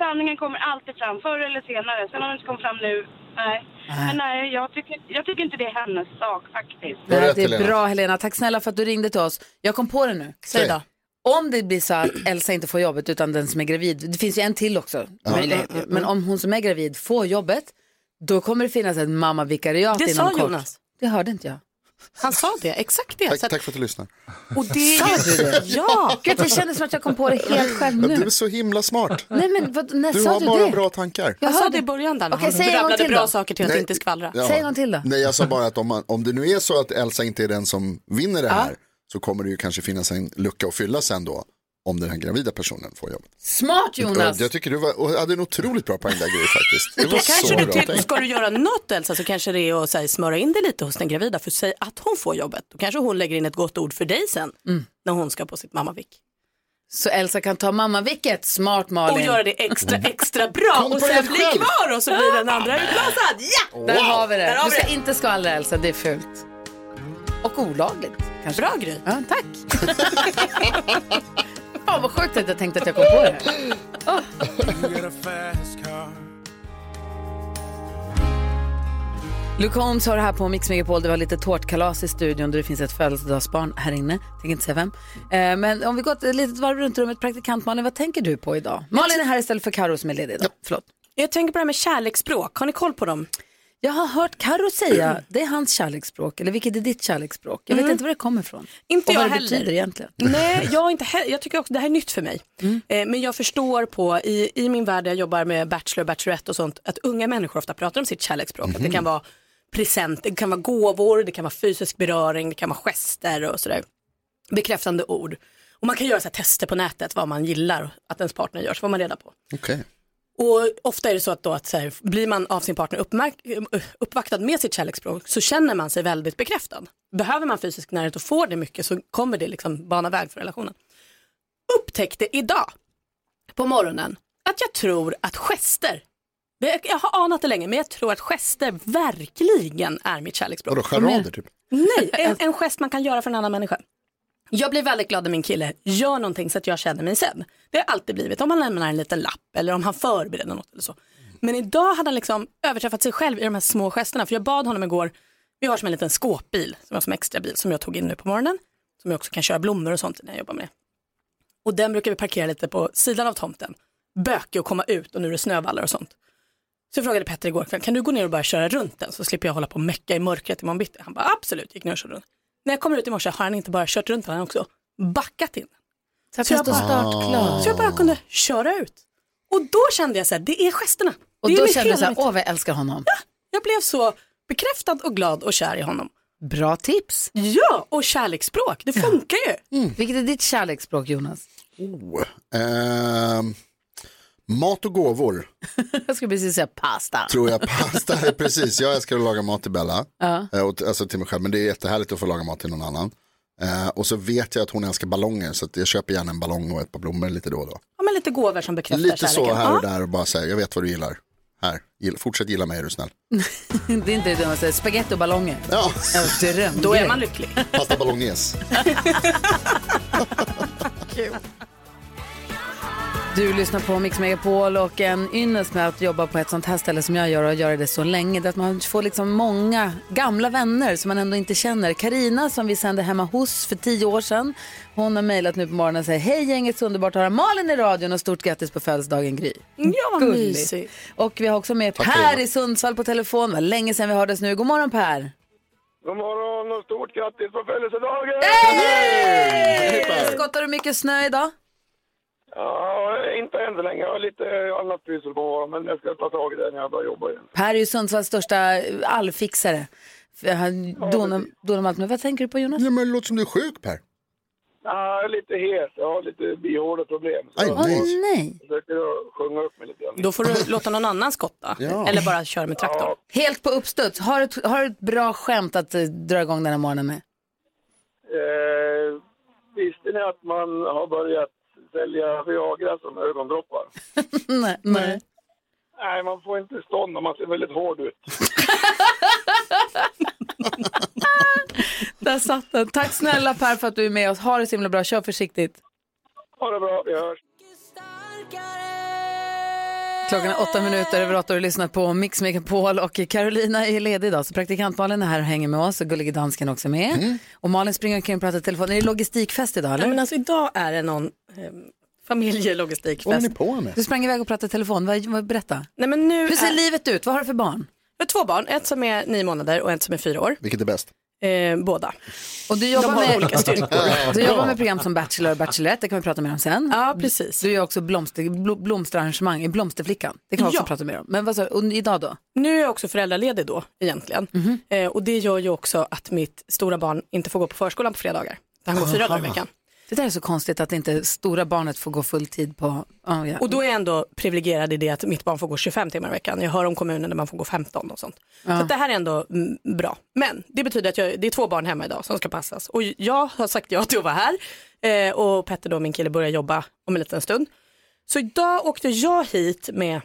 Speaker 12: Sanningen kommer alltid fram, förr eller senare. Sen har den inte kommit fram nu. Nej. Men nej, jag tycker, jag tycker inte det är hennes sak faktiskt.
Speaker 1: Det, det är bra Helena. Tack snälla för att du ringde till oss. Jag kom på det nu.
Speaker 12: Säg då.
Speaker 1: Om det blir så att Elsa inte får jobbet utan den som är gravid, det finns ju en till också
Speaker 7: Ja.
Speaker 1: möjlighet.
Speaker 7: Mm, mm, mm.
Speaker 1: Men om hon som är gravid får jobbet, då kommer det finnas ett mammavikariat
Speaker 7: Det
Speaker 1: inom
Speaker 7: sa
Speaker 1: kort.
Speaker 7: Jonas.
Speaker 1: Det hörde inte jag.
Speaker 7: Han sa det, exakt det.
Speaker 2: Tack,
Speaker 7: Så att-
Speaker 2: tack för att du lyssnar.
Speaker 7: Och det...
Speaker 1: Sa du det?
Speaker 7: Ja!
Speaker 1: Gud, det kändes som att jag kom på det helt själv
Speaker 2: Ja,
Speaker 1: nu.
Speaker 2: Du är så himla smart.
Speaker 1: Nej men vad, när
Speaker 2: du
Speaker 1: sa
Speaker 2: har
Speaker 1: du
Speaker 2: bara
Speaker 1: det?
Speaker 2: bra tankar.
Speaker 7: Jag sa
Speaker 1: hörde-
Speaker 7: det i början där. när
Speaker 1: Okej,
Speaker 7: han
Speaker 1: säg en gång
Speaker 7: rabblade
Speaker 1: till
Speaker 7: bra
Speaker 1: då.
Speaker 7: saker till att
Speaker 2: Nej.
Speaker 7: inte skvallra.
Speaker 2: Ja.
Speaker 1: Säg en gång till då.
Speaker 2: Nej, jag sa bara att om, man, om det nu är så att Elsa inte är den som vinner det här så kommer det ju kanske finnas en lucka att fylla sen då om den här gravida personen får jobb.
Speaker 1: Smart Jonas!
Speaker 2: Jag tycker du var, och hade en otroligt bra poäng där Gry faktiskt. Det
Speaker 7: Då
Speaker 2: var
Speaker 7: kanske
Speaker 2: så
Speaker 7: du
Speaker 2: bra
Speaker 7: till,
Speaker 2: tänkt.
Speaker 7: ska du göra något Elsa så kanske det är att så här, smöra in dig lite hos den gravida för säg att hon får jobbet. Då kanske hon lägger in ett gott ord för dig sen
Speaker 1: Mm.
Speaker 7: när hon ska på sitt mammavik.
Speaker 1: Så Elsa kan ta mammavicket, smart Malin.
Speaker 7: Och göra det extra extra bra
Speaker 1: Mm. Kom
Speaker 7: och
Speaker 1: på
Speaker 7: sen
Speaker 1: det
Speaker 7: bli
Speaker 1: själv. Ah,
Speaker 7: kvar och så blir den andra utlasad. Ja!
Speaker 1: Där har vi
Speaker 7: Där
Speaker 1: det.
Speaker 7: har
Speaker 1: Du
Speaker 7: vi
Speaker 1: ska
Speaker 7: det.
Speaker 1: inte skvallra Elsa, det är fult. Och olagligt. Kanske.
Speaker 7: Bra Gry.
Speaker 1: Ja, tack. [LAUGHS] Fan vad sjukt att jag tänkte att jag kom på det. Luke Holmes har det här på Mix Megapol. Det var lite tårtkalas i studion där det finns ett födelsedagsbarn här inne. Tänker inte säga vem. Eh, Men om vi går ett litet varv runt rummet. Praktikant Malin, vad tänker du på idag? Malin är här istället för Karo som är ledig idag. Förlåt.
Speaker 7: Jag tänker på det här med kärleksspråk. Har ni koll på dem?
Speaker 1: Jag har hört Karo
Speaker 7: [CLEARS THROAT]
Speaker 1: säga, det är hans kärleksspråk, eller vilket är ditt kärleksspråk? Jag vet
Speaker 7: Mm.
Speaker 1: inte var det kommer ifrån.
Speaker 7: Inte
Speaker 1: och
Speaker 7: jag
Speaker 1: vad det
Speaker 7: heller.
Speaker 1: betyder egentligen. [LAUGHS] Mm.
Speaker 7: Nej, jag, har inte he- jag tycker också det här är nytt för mig. Eh, men jag förstår på, i, i min värld där jag jobbar med Bachelor, Bachelorette och sånt, att unga människor ofta pratar om sitt kärleksspråk. Att det
Speaker 1: Mhm.
Speaker 7: kan vara present, det kan vara gåvor, det kan vara fysisk beröring, det kan vara gester och sådär. Bekräftande ord. Och man kan göra så här tester på nätet, vad man gillar att ens partner gör, så får man reda på.
Speaker 2: Okej.
Speaker 7: Och ofta är det så att, då att så här, blir man av sin partner uppmärk- uppvaktad med sitt kärleksspråk så känner man sig väldigt bekräftad. Behöver man fysisk närhet och får det mycket så kommer det liksom bana väg för relationen. Upptäckte idag på morgonen att jag tror att gester, det, jag har anat det länge, men jag tror att gester verkligen är mitt kärleksspråk.
Speaker 2: Vadå, charader typ?
Speaker 7: Nej, en, en gest man kan göra för en annan människa. Jag blir väldigt glad när min kille gör någonting så att jag känner mig sedd. Det har alltid blivit om han lämnar en liten lapp eller om han förbereder något eller så. Men idag hade han liksom överträffat sig själv i de här små gesterna. För jag bad honom igår, vi har som en liten skåpbil som jag har som extra bil som jag tog in nu på morgonen. Som jag också kan köra blommor och sånt i när jag jobbar med det. Och den brukar vi parkera lite på sidan av tomten. Bökig att komma ut och nu är det snövallar och sånt. Så jag frågade Petter igår kväll, kan du gå ner och bara köra runt den så slipper jag hålla på och mecka i mörkret imorgon bitti? Han bara absolut, gick ner och körde runt. När jag kommer ut i morse har han inte bara kört runt den, han har också backat in.
Speaker 1: Så att den står startklar.
Speaker 7: så jag bara kunde köra ut. Och då kände jag så här, det är gesterna.
Speaker 1: Och
Speaker 7: det är
Speaker 1: då
Speaker 7: mitt
Speaker 1: kände du
Speaker 7: hela
Speaker 1: så här,
Speaker 7: mitt-
Speaker 1: åh vad jag älskar honom.
Speaker 7: Jag blev så bekräftad och glad och kär i honom.
Speaker 1: Bra tips.
Speaker 7: Ja, och kärleksspråk, det funkar ju.
Speaker 1: Mm. Vilket är ditt kärleksspråk Jonas? [LAUGHS]
Speaker 2: Oh, ehm, mat och gåvor
Speaker 1: Jag skulle precis säga pasta.
Speaker 2: tror jag pasta är [LAUGHS] precis. Jag älskar att laga mat till Bella.
Speaker 1: Ja.
Speaker 2: Eh, och t- Alltså till mig själv, men det är jättehärligt att få laga mat till någon annan. Eh, och så vet jag att hon älskar ballonger så att jag köper gärna en ballong och ett par blommor lite då och då.
Speaker 7: Ja, men lite gåvor som bekräftar
Speaker 2: Lite
Speaker 7: kärleken.
Speaker 2: så här och
Speaker 7: Ja.
Speaker 2: där och bara säga, jag vet vad du gillar. Här, gill, fortsätt gilla mig är du snäll.
Speaker 1: [LAUGHS] det är inte det dummaste, spagetti och ballonger.
Speaker 2: Ja.
Speaker 1: dröm.
Speaker 7: Då är man lycklig.
Speaker 2: [LAUGHS] Pasta ballonges.
Speaker 1: Du lyssnar på Mix Megapol och en ynnest med att jobba på ett sånt här ställe som jag gör och göra det så länge det är att man får liksom många gamla vänner som man ändå inte känner. Karina som vi sände hemma hos för tio år sedan. Hon har mejlat nu på morgonen och säger hej gänget så underbart att höra Malin i radion och stort grattis på födelsedagen Gry.
Speaker 7: Mm. Ja, vad
Speaker 1: Gulligt.
Speaker 7: mysigt.
Speaker 1: Och vi har också med
Speaker 7: Tack,
Speaker 1: Per
Speaker 7: Eva.
Speaker 1: i Sundsvall på telefon. Det var länge sedan vi hördes nu. God morgon Per!
Speaker 18: God morgon och stort grattis på födelsedagen!
Speaker 1: Hej! Skottar du mycket snö idag?
Speaker 18: Ja, inte än så länge. Jag har lite annat pyssel på morgonen, men jag ska ta tag i det när jag börjar jobba igen.
Speaker 1: Per är ju Sundsvalls största eh, allfixare. För Han donar donar med allt. Men vad tänker du på Jonas?
Speaker 2: Ja, men det låter som du är sjuk Per.
Speaker 18: Ja, jag är lite hes. Jag har lite bihåleproblem. så
Speaker 2: Aj,
Speaker 18: jag
Speaker 2: nej.
Speaker 1: Nej.
Speaker 18: försöker att sjunga upp mig lite grann.
Speaker 7: Då får du låta någon annan
Speaker 1: [LAUGHS]
Speaker 7: skotta.
Speaker 2: Ja.
Speaker 7: Eller bara köra med traktorn.
Speaker 1: Helt på uppstuds. Har du ett, har du ett bra skämt att eh, dra igång den här morgonen med? [LAUGHS]
Speaker 18: Eh, visste ni att man har börjat sälja Viagra som ögondroppar?
Speaker 1: nej, nej. [LAUGHS]
Speaker 18: Nej, man får inte stånd om man ser väldigt hård ut.
Speaker 1: Där satt den. Tack snälla Per för att du är med oss. Ha det så himla bra. Kör försiktigt.
Speaker 18: Ha det bra, vi hörs.
Speaker 1: Klockan är åtta minuter över åtta och du lyssnar på Mix Megapol och Carolina är ledig idag så praktikantmalen är här och hänger med oss och gullige dansken också med.
Speaker 2: Mm.
Speaker 1: Och Malin springer omkring och pratar i telefon. Är det logistikfest idag eller?
Speaker 7: Ja, men alltså idag är det någon eh, familjelogistikfest.
Speaker 1: Vad håller ni på med? Du sprang iväg och pratade i telefon. Vad, vad, berätta.
Speaker 7: Nej, men nu
Speaker 1: Hur ser
Speaker 7: är...
Speaker 1: livet ut? Vad har du för barn?
Speaker 7: Jag har två barn, ett som är nio månader och ett som är fyra år.
Speaker 2: Vilket är bäst?
Speaker 7: Eh, båda.
Speaker 1: Och du jobbar
Speaker 7: De har
Speaker 1: med,
Speaker 7: olika styrkor.
Speaker 1: Du jobbar med program som Bachelor och Bachelorette, det kan vi prata mer om sen.
Speaker 7: Ja, precis.
Speaker 1: Du gör också blomster, bl- blomsterarrangemang i Blomsterflickan, det kan vi också
Speaker 7: Ja.
Speaker 1: prata mer om. Men vad sa du, och idag då?
Speaker 7: Nu är jag också föräldraledig då egentligen.
Speaker 1: Mhm.
Speaker 7: Eh, och det gör ju också att mitt stora barn inte får gå på förskolan på fredagar. Han går fyra
Speaker 1: Aha.
Speaker 7: dagar i veckan.
Speaker 1: Det där är så konstigt att inte stora barnet får gå full tid på... ja, ja.
Speaker 7: Och då är jag ändå privilegierad i det att mitt barn får gå 25 timmar i veckan. Jag hör om kommuner där man får gå 15 och sånt.
Speaker 1: Ja.
Speaker 7: Så att det här är ändå mm, bra. Men det betyder att jag, det är två barn hemma idag som ska passas. Och jag har sagt ja till att vara här. Eh, och Petter då, min kille, börjar jobba om en liten stund. Så idag åkte jag hit med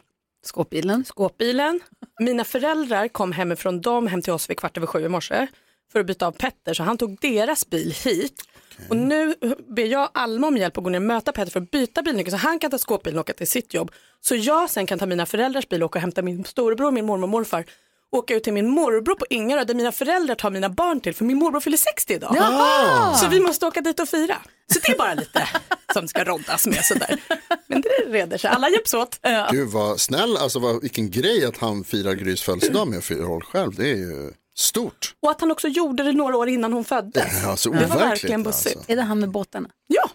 Speaker 1: skåpbilen.
Speaker 7: skåpbilen. Mina föräldrar kom hemifrån dem hem till oss vid kvart över sju i morse för att byta av Petter så han tog deras bil hit. Och nu ber jag Alma om hjälp att gå ner och möta Petter för att byta bilnyckel så han kan ta skåpbilen och åka till sitt jobb. Så jag sen kan ta mina föräldrars bil och åka och hämta min storebror, min mormor och morfar. Åka ut till min morbror på Ingarö där mina föräldrar tar mina barn till för min morbror fyller 60 idag.
Speaker 1: Jaha!
Speaker 7: Så vi måste åka dit och fira. Så det är bara lite [LAUGHS] som ska roddas med sådär. Men det reder sig, alla hjälps åt. Ja.
Speaker 2: Du var snäll, alltså vad, vilken grej att han firar Grys födelsedag med fyra år själv. Det är ju stort.
Speaker 7: Och att han också gjorde det några år innan hon föddes.
Speaker 2: Ja, så
Speaker 7: det var
Speaker 2: overkligt,
Speaker 7: verkligen bussigt.
Speaker 1: Är det han med båtarna?
Speaker 7: Ja.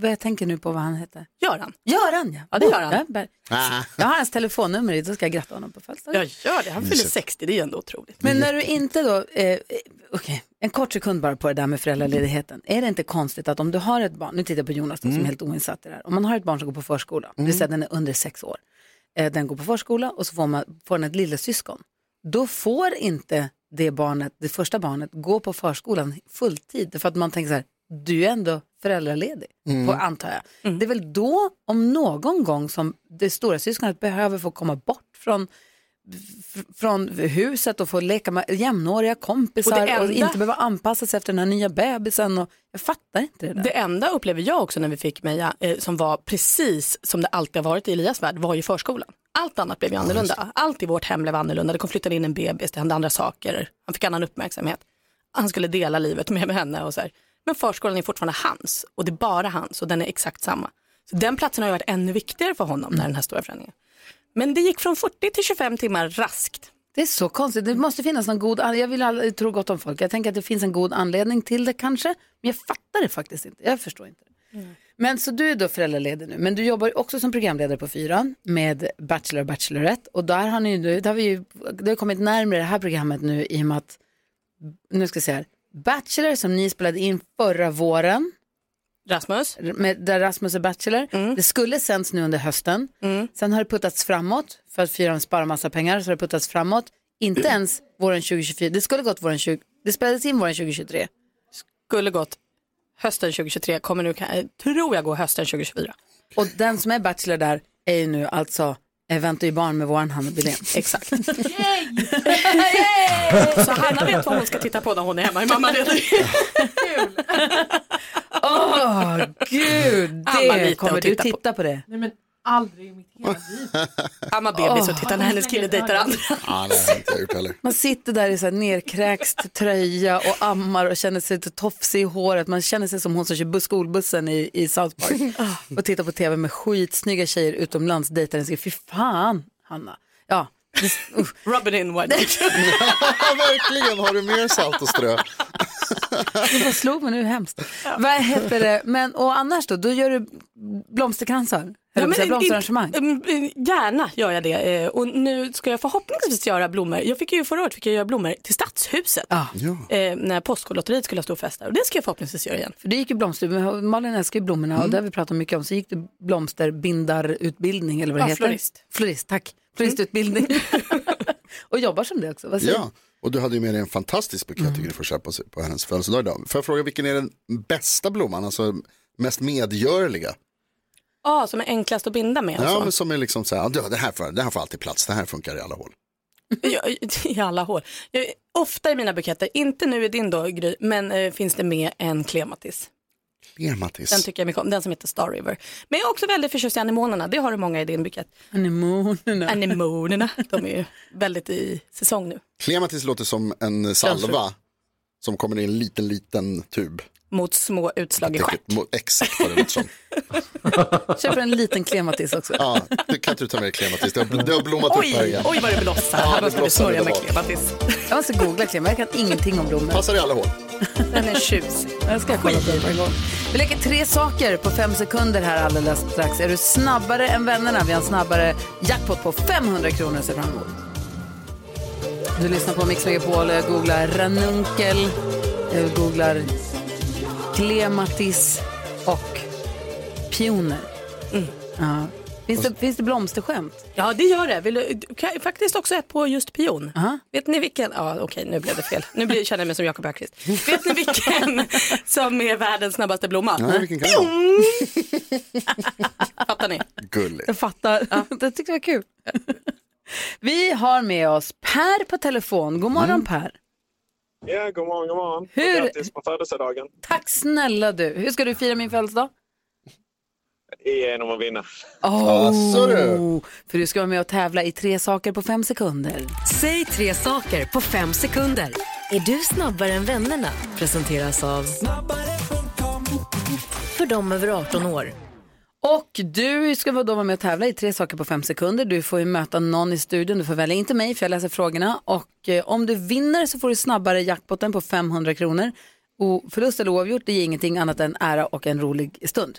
Speaker 1: Vad jag tänker nu på vad han heter.
Speaker 7: Göran.
Speaker 1: Göran ja.
Speaker 7: Ja, det gör han.
Speaker 1: Ja, bär- Jag har hans telefonnummer i, då ska jag gratta honom på
Speaker 7: Jag
Speaker 1: födelsedagen.
Speaker 7: gör det, han fyller 60, det är ju ändå otroligt.
Speaker 1: Men när du inte då, eh, eh, okej, en kort sekund bara på det där med föräldraledigheten. Är det inte konstigt att om du har ett barn, nu tittar jag på Jonas då, som
Speaker 7: Mm.
Speaker 1: är helt oinsatt i det här, om man har ett barn som går på förskola, det vill säga den är under sex år, eh, den går på förskola och så får, man, får den ett lillasyskon, då får inte det barnet, det första barnet, gå på förskolan fulltid, för att man tänker så här, du är ändå föräldraledig,
Speaker 7: Mm.
Speaker 1: på, antar jag. Det är väl då, om någon gång, som det stora syskonet behöver få komma bort från fr- från huset och få leka med jämnåriga kompisar och,
Speaker 7: Och det enda-
Speaker 1: inte behöva anpassa sig efter den här nya bebisen. Och, jag fattar inte det där.
Speaker 7: Det enda upplever jag också när vi fick Meja, eh, som var precis som det alltid har varit i Elias värld, var ju förskolan. Allt annat blev ju annorlunda. Allt i vårt hem blev annorlunda. Det kom flyttade in en bebis, det hände andra saker. Han fick annan uppmärksamhet. Han skulle dela livet med, med henne och så här. Men förskolan är fortfarande hans och det är bara hans och den är exakt samma. Så den platsen har ju varit ännu viktigare för honom när den här stora förändringen. Men det gick från 40 till 25 timmar raskt.
Speaker 1: Det är så konstigt. Det måste finnas någon god an- Jag vill aldrig tro gott om folk. Jag tänker att det finns en god anledning till det kanske. Men jag fattar det faktiskt inte. Jag förstår inte. det. Men så du är då föräldraledig nu. Men du jobbar också som programledare på Fyran med Bachelor och Bachelorette. Och där har ni nu, det har vi ju, det har kommit närmare det här programmet nu i och med att, nu ska jag säga här, Bachelor som ni spelade in förra våren.
Speaker 7: Rasmus. Mm.
Speaker 1: Med, där Rasmus är Bachelor. Det skulle sänds nu under hösten. Sen har det puttats framåt för att fyran sparar massa pengar. Så har det puttats framåt. Inte ens våren 2024. Det skulle gått våren 20, det spelades in våren 2023.
Speaker 7: Skulle gått hösten 2023, kommer nu, eh, tror jag, gå hösten 2024.
Speaker 1: Och den som är Bachelor där är ju nu alltså eh, väntar ju barn med våran Hanna Billén.
Speaker 7: [LAUGHS] Exakt. Så Hanna vet vad hon ska titta på när hon är
Speaker 1: [LAUGHS]
Speaker 7: hemma i mammaledig.
Speaker 1: Åh, gud. Det det?
Speaker 7: man lite
Speaker 1: Kommer
Speaker 7: och
Speaker 1: du
Speaker 7: titta
Speaker 1: titta på det?
Speaker 17: Nej men aldrig i mitt hela liv.
Speaker 7: [LAUGHS] Är man bebis och tittar när hennes kille dejtar andra?
Speaker 2: Ja, det har jag inte gjort
Speaker 1: [LAUGHS]
Speaker 2: heller.
Speaker 1: Man sitter där i så här nerkräkst tröja och ammar och känner sig lite tofsig i håret. Man känner sig som hon som kör bus- skolbussen i, i South Park.
Speaker 7: [LAUGHS]
Speaker 1: och tittar på tv med skitsnygga tjejer utomlands dejtar en sig. Fy fan, Hanna. Ja.
Speaker 7: Rub it in, why not?
Speaker 2: Verkligen, har du mer salt och strö?
Speaker 1: Det bara slog mig nu, hemskt. Vad heter det? Men, och annars då? Då gör du blomsterkransar? Ja, men, blomsterarrangemang?
Speaker 7: mm, mm, Gärna gör jag det. Eh, Och nu ska jag förhoppningsvis göra blommor. Jag fick ju förra året fick jag göra blommor till Stadshuset. Eh, när Postkodlotteriet skulle ha stor fest där. Och det ska jag förhoppningsvis göra igen.
Speaker 1: För det gick ju blomster, men Malin älskar ju blommorna och det har vi pratat mycket om. Så gick det blomsterbindarutbildning eller vad det
Speaker 7: Ja,
Speaker 1: heter.
Speaker 7: florist.
Speaker 1: Florist, tack. Floristutbildning. [LAUGHS] och jobbar som det också. Vad säger
Speaker 2: Ja, och du hade ju med dig en fantastisk bukett tycker du får köpa sig på hennes födelsedag idag. Får jag fråga vilken är den bästa blomman, alltså mest medgörliga?
Speaker 7: Ja, som är enklast att binda med.
Speaker 2: Ja,
Speaker 7: [LAUGHS]
Speaker 2: men
Speaker 7: alltså.
Speaker 2: som är liksom så här, ja, det, här får, det här får alltid plats, det här funkar i alla hål.
Speaker 7: Jag, I alla hår. Jag, ofta i mina buketter, inte nu i din då Gry, men eh, finns det med en klematis.
Speaker 2: Clematis.
Speaker 7: Den tycker jag mycket om, den som heter Star River. Men jag är också väldigt förtjust i anemonerna, det har du många i din bukett.
Speaker 1: Anemonerna.
Speaker 7: Anemonerna, de är ju väldigt i säsong nu.
Speaker 2: Clematis låter som en salva som kommer i en liten, liten tub.
Speaker 7: Mot små utslag i stjärt.
Speaker 2: Mo- Exakt vad det låter som.
Speaker 1: du? Köper en liten klematis också.
Speaker 2: Ja, du kan inte du ta med dig clematis, det har, det har blommat upp här igen.
Speaker 7: vad det blossar.
Speaker 2: Här måste vi smörja med
Speaker 7: klematis.
Speaker 1: Jag måste googla klematis, jag kan ingenting om blommor.
Speaker 2: Passar i alla hål.
Speaker 1: Den är tjusig. Jag ska kolla på den på en gång. Vi leker tre saker på fem sekunder här alldeles strax. Är du snabbare än vännerna? Vi har en snabbare jackpot på 500 kronor ser fram emot. Du lyssnar på Mix Megapol, jag googlar ranunkel, jag googlar klematis och pioner.
Speaker 7: Mm.
Speaker 1: Ja. Finns, det, finns det blomsterskämt?
Speaker 7: Ja, det gör det. Vill du, kan, faktiskt också ett på just pion. Vet ni vilken? Ja, okej, nu blev det fel. Nu blir, känner jag mig som Jakob Bergqvist. Vet ni vilken som är världens snabbaste blomma?
Speaker 2: Nej, vilken kan det
Speaker 7: Pion! Fattar
Speaker 2: [LAUGHS]
Speaker 7: ni?
Speaker 2: Gulligt.
Speaker 1: Jag fattar. [LAUGHS] Det tyckte jag var kul. Vi har med oss Per på telefon. God
Speaker 19: Mm.
Speaker 1: morgon Per.
Speaker 20: Ja, god morgon, god morgon.
Speaker 1: Hur-
Speaker 20: Och Grattis på födelsedagen.
Speaker 1: Tack snälla du. Hur ska du fira min födelsedag?
Speaker 20: Genom att vinna.
Speaker 1: Asså du. Oh, För du ska vara med och tävla i tre saker på fem sekunder.
Speaker 19: Säg tre saker på fem sekunder. Är du snabbare än vännerna? Presenteras av för dem över 18 år.
Speaker 1: Och du ska vara- då vara med och tävla i tre saker på fem sekunder. Du får ju möta någon i studion. Du får välja inte mig för jag läser frågorna. Och eh, om du vinner så får du snabbare jackpotten på 500 kronor. Och förlust eller oavgjort det ger ingenting annat än ära och en rolig stund.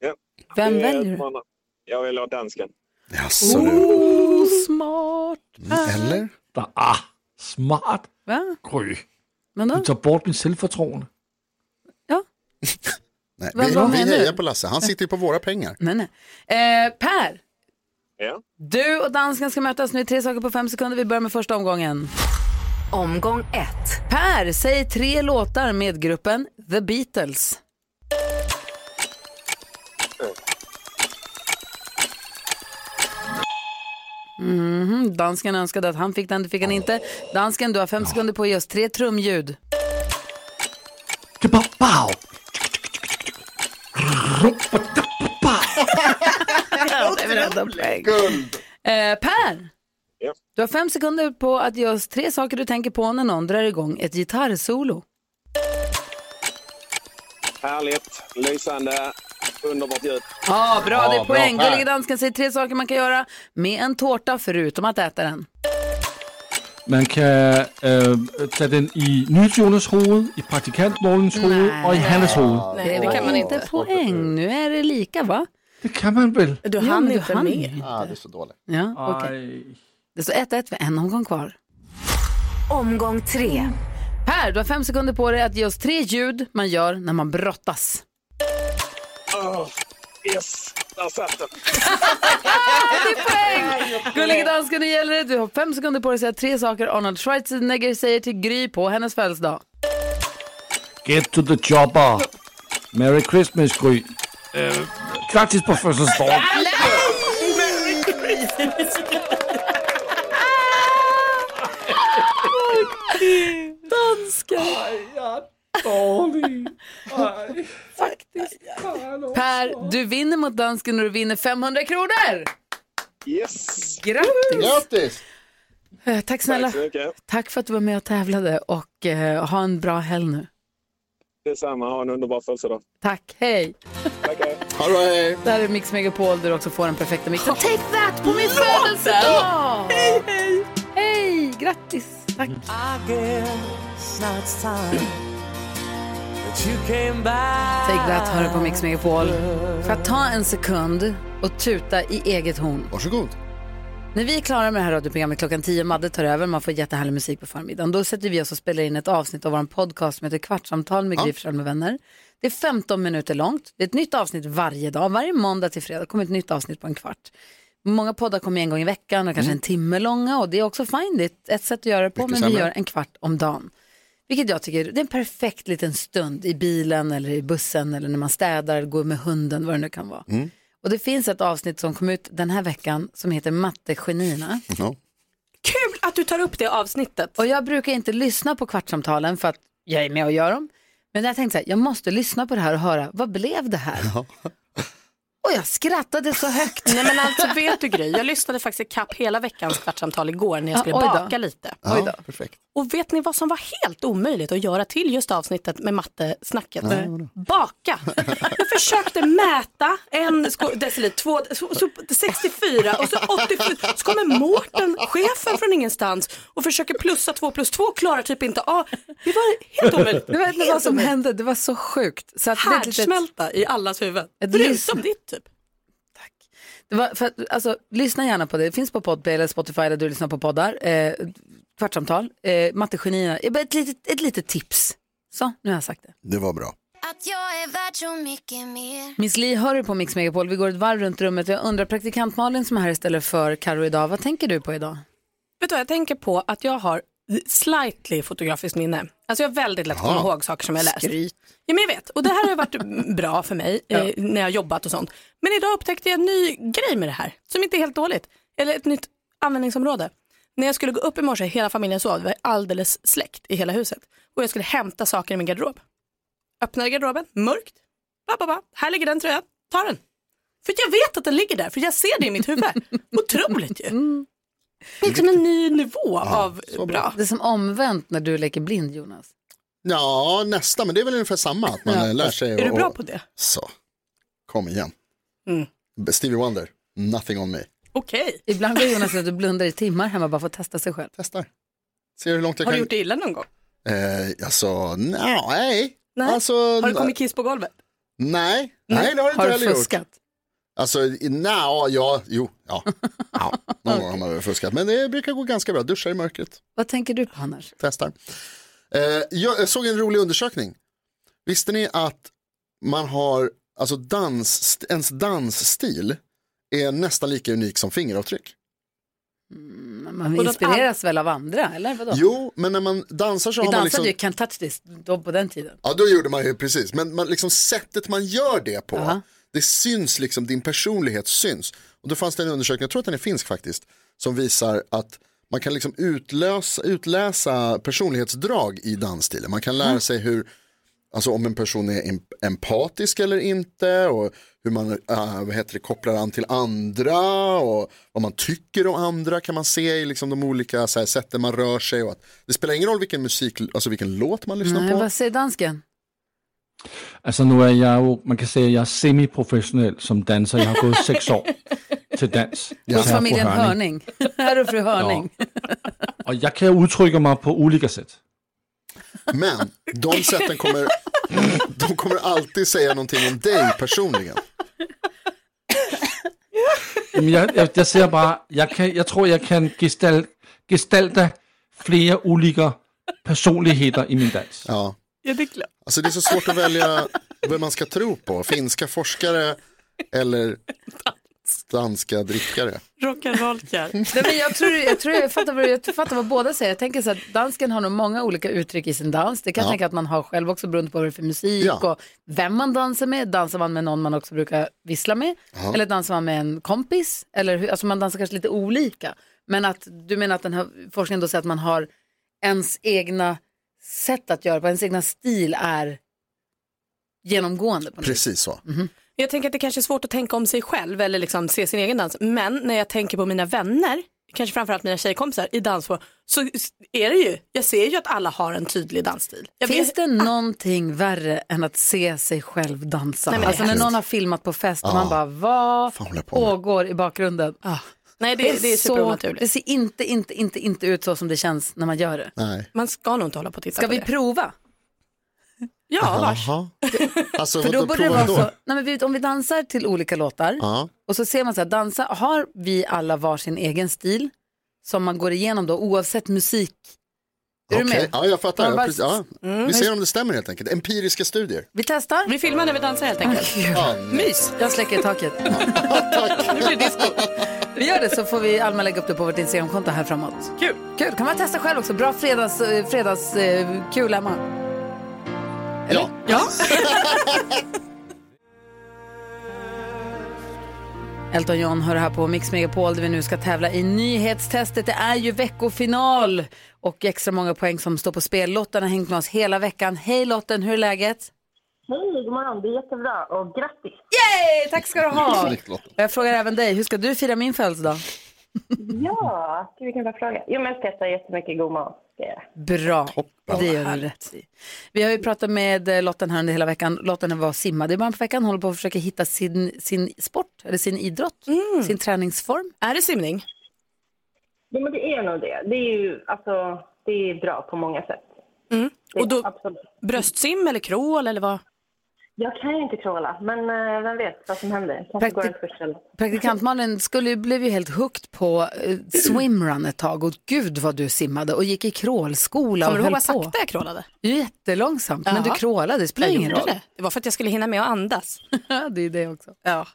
Speaker 20: Ja.
Speaker 1: Vem
Speaker 20: Det är
Speaker 1: väljer du?
Speaker 20: utmanande. Eh, Jag väljer dansken.
Speaker 2: Jaså
Speaker 1: Oh, smart!
Speaker 2: Eller?
Speaker 3: Der er smart
Speaker 1: Va?
Speaker 3: gry.
Speaker 1: Men
Speaker 3: Du tager bort min selvfortroende.
Speaker 2: Nej,
Speaker 1: Vad
Speaker 2: vi
Speaker 1: bra
Speaker 2: vi
Speaker 1: menar
Speaker 2: hejar
Speaker 1: du?
Speaker 2: på Lasse, han sitter ju på våra pengar.
Speaker 1: Nej, nej. Eh, per,
Speaker 20: Ja.
Speaker 1: du och dansken ska mötas nu i tre saker på fem sekunder. Vi börjar med första omgången. Omgång ett. Per, säg tre låtar med gruppen The Beatles. Mhm, Dansken önskade att han fick den, det fick han inte. Dansken, du har fem sekunder på att ge oss tre trumljud.
Speaker 3: Bow.
Speaker 1: Guld. Eh, per, du har fem sekunder på att ge oss tre saker du tänker på när någon drar igång ett gitarrsolo.
Speaker 20: Härligt, lysande, underbart ljud.
Speaker 1: Ja, bra, det är poäng. Gullige dansken säger tre saker man kan göra med en tårta förutom att äta den.
Speaker 3: Man kan øh, tage den i Nils hoved, i praktikantmålens hoved og i Hannes hoved.
Speaker 1: Nej, det kan man inte. poäng. Nu är det lika, va?
Speaker 3: Det kan man väl?
Speaker 1: Du hann Ja, du inte hann med. inte.
Speaker 2: Ah, det är så dåligt.
Speaker 1: Ja, okej. Det står 1-1 för en omgång kvar. Omgång tre. Per, du har fem sekunder på dig att ge oss tre ljud man gör när man brottas.
Speaker 20: Oh, yes, där satt den.
Speaker 1: Gullige dansken, nu gäller det. Du har fem sekunder på dig att säga tre saker Arnold Schwarzenegger säger till Gry på hennes födelsedag.
Speaker 3: Get to the chopper. Merry Christmas, Gry. Øh, gratis på fødselsdagen.
Speaker 17: Merry Christmas!
Speaker 1: Danska!
Speaker 17: Aj, jag är dålig. Aj.
Speaker 1: Per, du vinner mot dansken och du vinner 500 kronor!
Speaker 20: Yes!
Speaker 1: Grattis!
Speaker 2: Grattis!
Speaker 1: Eh, Tack snälla.
Speaker 20: Tack så mycket.
Speaker 1: Tack för att du var med och tävlade och eh, ha en bra helg nu.
Speaker 20: Detsamma, ha en underbar födelsedag.
Speaker 1: Tack, hej!
Speaker 2: Ha det bra, hej!
Speaker 1: Det här är Mix Megapol där du också får den perfekta mixen. Take that på min födelsedag! Hej, hej! Hej, grattis! Tack.
Speaker 7: Mm.
Speaker 1: Take that hör du på Mix Megapol. Får jag ta en sekund och tuta i eget horn?
Speaker 2: Varsågod.
Speaker 1: När vi är klara med det här radioprogrammet klockan 10, Madde tar över, man får jättehärlig musik på förmiddagen. Då sätter vi oss och spelar in ett avsnitt av vår podcast som heter Kvartsamtal med
Speaker 2: Ja.
Speaker 1: Gry Forssell med vänner. Det är 15 minuter långt, det är ett nytt avsnitt varje dag. Varje måndag till fredag kommer ett nytt avsnitt på en kvart. Många poddar kommer en gång i veckan och
Speaker 2: Mm.
Speaker 1: kanske en timme långa och det är också fine, det är ett sätt att göra det på,
Speaker 19: Mycket
Speaker 1: men vi
Speaker 19: sämre.
Speaker 1: gör en kvart om dagen. Vilket jag tycker det är en perfekt liten stund i bilen eller i bussen eller när man städar, går med hunden, vad det nu kan vara.
Speaker 2: Mm.
Speaker 1: Och det finns ett avsnitt som kom ut den här veckan som heter Mattegenierna.
Speaker 2: Ja.
Speaker 1: Kul att du tar upp det avsnittet. Och jag brukar inte lyssna på kvartsamtalen för att jag är med och gör dem. Men jag tänkte så här, jag måste lyssna på det här och höra, vad blev det här? Och jag skrattade så högt.
Speaker 7: Nej men alltså vet du Gry, jag lyssnade faktiskt kapp hela veckans kvartsamtal igår när jag
Speaker 1: Ja,
Speaker 7: skulle
Speaker 1: oj då.
Speaker 7: baka lite.
Speaker 1: Oj då.
Speaker 2: perfekt.
Speaker 7: Och vet ni vad som var helt omöjligt att göra till just avsnittet med mattesnacket?
Speaker 1: Nej, vadå?
Speaker 7: Baka! Jag försökte mäta en sko- deciliter, två, så, så 64 och så 84. Så kommer Mårten, chefen från ingenstans och försöker plussa två plus två, klarar typ inte av. Det var helt omöjligt.
Speaker 1: Du vet inte vad som hände, det var så sjukt. Så att det är ett litet-
Speaker 7: Härdsmälta i allas huvud.
Speaker 1: Ett
Speaker 7: Förutom
Speaker 1: lyssn-
Speaker 7: ditt typ.
Speaker 1: Det var för, att- alltså, lyssna gärna på det. Det finns på Podplay eller Spotify där du lyssnar på poddar. Eh, kvartsamtal, eh, mattegenierna. Eh, bara Ett litet, ett litet tips. Så, nu har jag sagt det.
Speaker 2: Det var bra.
Speaker 21: Att jag är värd så mycket mer.
Speaker 1: Miss Li, hör du på Mix Megapol? Vi går ett varv runt rummet. Jag undrar, praktikant Malin som är här istället för Karo idag, vad tänker du på idag?
Speaker 7: Vet du vad, jag tänker på att jag har slightly fotografiskt minne. Alltså jag har väldigt lätt att komma
Speaker 1: Jaha.
Speaker 7: ihåg saker som jag läst.
Speaker 1: Skryt.
Speaker 7: Ja, men jag vet, och det här har ju varit mm, bra för mig eh, när jag har jobbat och sånt. Men idag upptäckte jag en ny grej med det här som inte är helt dåligt. Eller ett nytt användningsområde. När jag skulle gå upp i morse, hela familjen sov, det var alldeles släckt i hela huset. Och jag skulle hämta saker i min garderob. Öppnade garderoben, mörkt. Ba, ba, ba. Här ligger den tröjan, ta den. För jag vet att den ligger där, för jag ser det i mitt huvud. Otroligt ju. Det är liksom en ny nivå av bra.
Speaker 1: Det är som omvänt när du leker blind, Jonas.
Speaker 2: Ja, nästa, men det är väl ungefär samma. Att man eh, lär sig.
Speaker 7: Är du
Speaker 2: och-
Speaker 7: bra på det?
Speaker 2: Så, kom igen.
Speaker 7: Mm.
Speaker 2: Stevie Wonder, Nothing on me.
Speaker 7: Okej.
Speaker 1: Ibland går Jonas ut och blundar i timmar hemma bara för att testa sig själv.
Speaker 2: Testar. Ser hur långt jag
Speaker 7: Har du
Speaker 2: kan...
Speaker 7: gjort det illa någon gång?
Speaker 2: Eh, alltså, nja, nej.
Speaker 7: Nej.
Speaker 2: Alltså,
Speaker 7: har du kommit kiss på golvet?
Speaker 2: Nej, nej det har jag inte
Speaker 7: Har du
Speaker 2: heller
Speaker 7: fuskat?
Speaker 2: gjort. Alltså, i- nja, ja, jo,
Speaker 1: [LAUGHS]
Speaker 2: ja. ja. Någon gång har man väl fuskat, men det brukar gå ganska bra. Duschar i mörkret.
Speaker 1: Vad tänker du på annars?
Speaker 2: Testar. Eh, jag jag såg en rolig undersökning. Visste ni att man har, alltså dans, ens dansstil är nästan lika unik som fingeravtryck?
Speaker 1: Man
Speaker 2: Och de-
Speaker 1: inspireras väl av andra, eller vadå?
Speaker 2: Jo, men när man dansar så
Speaker 1: Vi
Speaker 2: har man
Speaker 1: dansade
Speaker 2: liksom...
Speaker 1: ju Can't touch this då på den tiden.
Speaker 2: Ja, då gjorde man ju precis. Men man, liksom, sättet man gör det på, det syns liksom, din personlighet syns. Och då fanns det en undersökning, jag tror att den är finsk faktiskt, som visar att man kan liksom utlösa, utläsa personlighetsdrag i dansstilen. Man kan lära
Speaker 1: Mm.
Speaker 2: sig hur, alltså om en person är em- empatisk eller inte och hur man äh, vad heter det, kopplar an till andra och vad man tycker om andra kan man se i liksom de olika så här, sätten man rör sig. Och att, det spelar ingen roll vilken musik, alltså vilken låt man lyssnar
Speaker 1: Nej,
Speaker 2: på.
Speaker 1: vad säger dansken?
Speaker 3: Altså nu er jeg jo, man kan sige, at jeg er semiprofessionel som danser. Jeg har gået seks
Speaker 1: [LAUGHS]
Speaker 3: år til dans.
Speaker 1: Hos
Speaker 3: her på
Speaker 1: familjen
Speaker 3: Hørning.
Speaker 1: Hörning. Här och fru Hörning.
Speaker 3: Og jeg kan udtrykke mig på ulike sæt.
Speaker 2: Men de sätten kommer, de kommer alltid säga någonting om dig personligen.
Speaker 3: Jamen, jeg, jeg, jeg ser bare, jeg, kan, jeg tror, jeg kan gestal, gestalte flere ulike personligheder i min dans.
Speaker 2: Ja.
Speaker 7: Ja, det är klart.
Speaker 2: Alltså det är så svårt att välja vad man ska tro på. Finska forskare eller danska drickare.
Speaker 7: Rock'n'roll-kär.
Speaker 1: Nej, men jag, tror, jag, tror, jag, fattar vad, jag fattar vad båda säger. Jag tänker så att dansken har nog många olika uttryck i sin dans. Det kan jag
Speaker 2: Ja.
Speaker 1: tänka att man har själv också beroende på vad det är för musik
Speaker 2: Ja.
Speaker 1: och vem man dansar med. Dansar man med någon man också brukar vissla med?
Speaker 2: Ja.
Speaker 1: Eller dansar man med en kompis? Eller hur? Alltså man dansar kanske lite olika. Men att du menar att den här forskningen då säger att man har ens egna sätt att göra på, ens egna stil är genomgående. På något vis.
Speaker 2: Precis så.
Speaker 1: Mm-hmm.
Speaker 7: Jag tänker att det kanske är svårt att tänka om sig själv eller liksom se sin egen dans. Men när jag tänker på mina vänner, kanske framförallt mina tjejkompisar i dans så är det ju, jag ser ju att alla har en tydlig dansstil. Jag ah.
Speaker 1: Finns
Speaker 7: vet-
Speaker 1: det någonting värre än att se sig själv dansa?
Speaker 7: Nej, men det
Speaker 1: alltså
Speaker 7: är
Speaker 1: när
Speaker 7: hemskt.
Speaker 1: någon har filmat på fest och
Speaker 7: Ja.
Speaker 1: man bara, vad
Speaker 2: Ah. håller jag på med?"
Speaker 1: pågår i bakgrunden? Ah.
Speaker 7: Nej, det- det är superonaturligt.
Speaker 1: Det ser inte, inte, inte, inte ut så som det känns när man gör det.
Speaker 2: Nej.
Speaker 7: Man ska nog inte hålla på och titta
Speaker 1: Ska
Speaker 7: på
Speaker 1: vi
Speaker 7: det.
Speaker 1: prova?
Speaker 7: Ja, vars.
Speaker 2: Jaha. Alltså,
Speaker 1: För då
Speaker 2: vadå,
Speaker 1: borde det
Speaker 2: prova då?
Speaker 1: vara så, nej men vi- om vi dansar till olika låtar
Speaker 2: Ja.
Speaker 1: och så ser man så här, dansa, har vi alla varsin egen stil som man går igenom då oavsett musik? Är du
Speaker 2: Okej.
Speaker 1: med?
Speaker 2: Ja, jag fattar.
Speaker 1: Man
Speaker 2: Ja,
Speaker 1: bara- Mm,
Speaker 2: precis. Ja. Vi ser om det stämmer helt enkelt. Empiriska studier.
Speaker 1: Vi testar.
Speaker 7: Vi filmar när vi dansar helt enkelt.
Speaker 2: Ja.
Speaker 7: Mys.
Speaker 1: Jag släcker
Speaker 7: [LAUGHS]
Speaker 1: i taket. Vi gör det så får vi Alma lägga upp det på vårt Instagramkonto här framåt. Kul! Kul, kan man testa själv också. Bra fredags, eh, fredags eh, kul Emma.
Speaker 2: Ja.
Speaker 1: [LAUGHS] Ja. Elton John hör här på Mix Megapol där vi nu ska tävla i nyhetstestet. Det är ju veckofinal och extra många poäng som står på spel. Lotten har hängt med oss hela veckan. Hej Lotten, hur är läget?
Speaker 5: Hej, god morgon. Det är jättebra och grattis.
Speaker 1: Yay! Tack ska du ha!
Speaker 5: Snyggt,
Speaker 1: Och jag frågar även dig, hur ska du fira min födelsedag?
Speaker 5: Ja, gud, vilken bra fråga. Jo, men testa jättemycket god mat. ska jag göra.
Speaker 1: Bra, det gör du rätt i. Vi har ju pratat med eh, Lotten här under hela veckan. Lotten var och simmade i början på veckan, håller på att försöka hitta sin, sin sport, eller sin idrott, sin träningsform.
Speaker 7: Mm. Är det simning?
Speaker 5: Jo, men det är nog det. Det är ju alltså, det är bra på många sätt.
Speaker 1: Mm.
Speaker 5: Det är
Speaker 7: Och då-
Speaker 5: absolut.
Speaker 7: Bröstsim eller crawl eller vad?
Speaker 5: Jag kan ju inte crawla, men eh, vem vet vad som händer. Kanske går en kurs eller
Speaker 1: Praktikant Malin skulle, blev ju helt hooked på eh, swimrun ett tag och gud vad du simmade och gick i crawlskola
Speaker 7: Kommer
Speaker 1: och
Speaker 7: du ihåg
Speaker 1: höll
Speaker 7: vad
Speaker 1: på.
Speaker 7: sakta jag crawlade?
Speaker 1: Jättelångsamt, men du
Speaker 7: Ja.
Speaker 1: crawlade, det spelar
Speaker 7: Jag
Speaker 1: ingen
Speaker 7: gjorde
Speaker 1: roll.
Speaker 7: det. Det var för att jag skulle hinna med att
Speaker 1: [LAUGHS]
Speaker 7: andas.
Speaker 1: det är det också.
Speaker 7: Ja.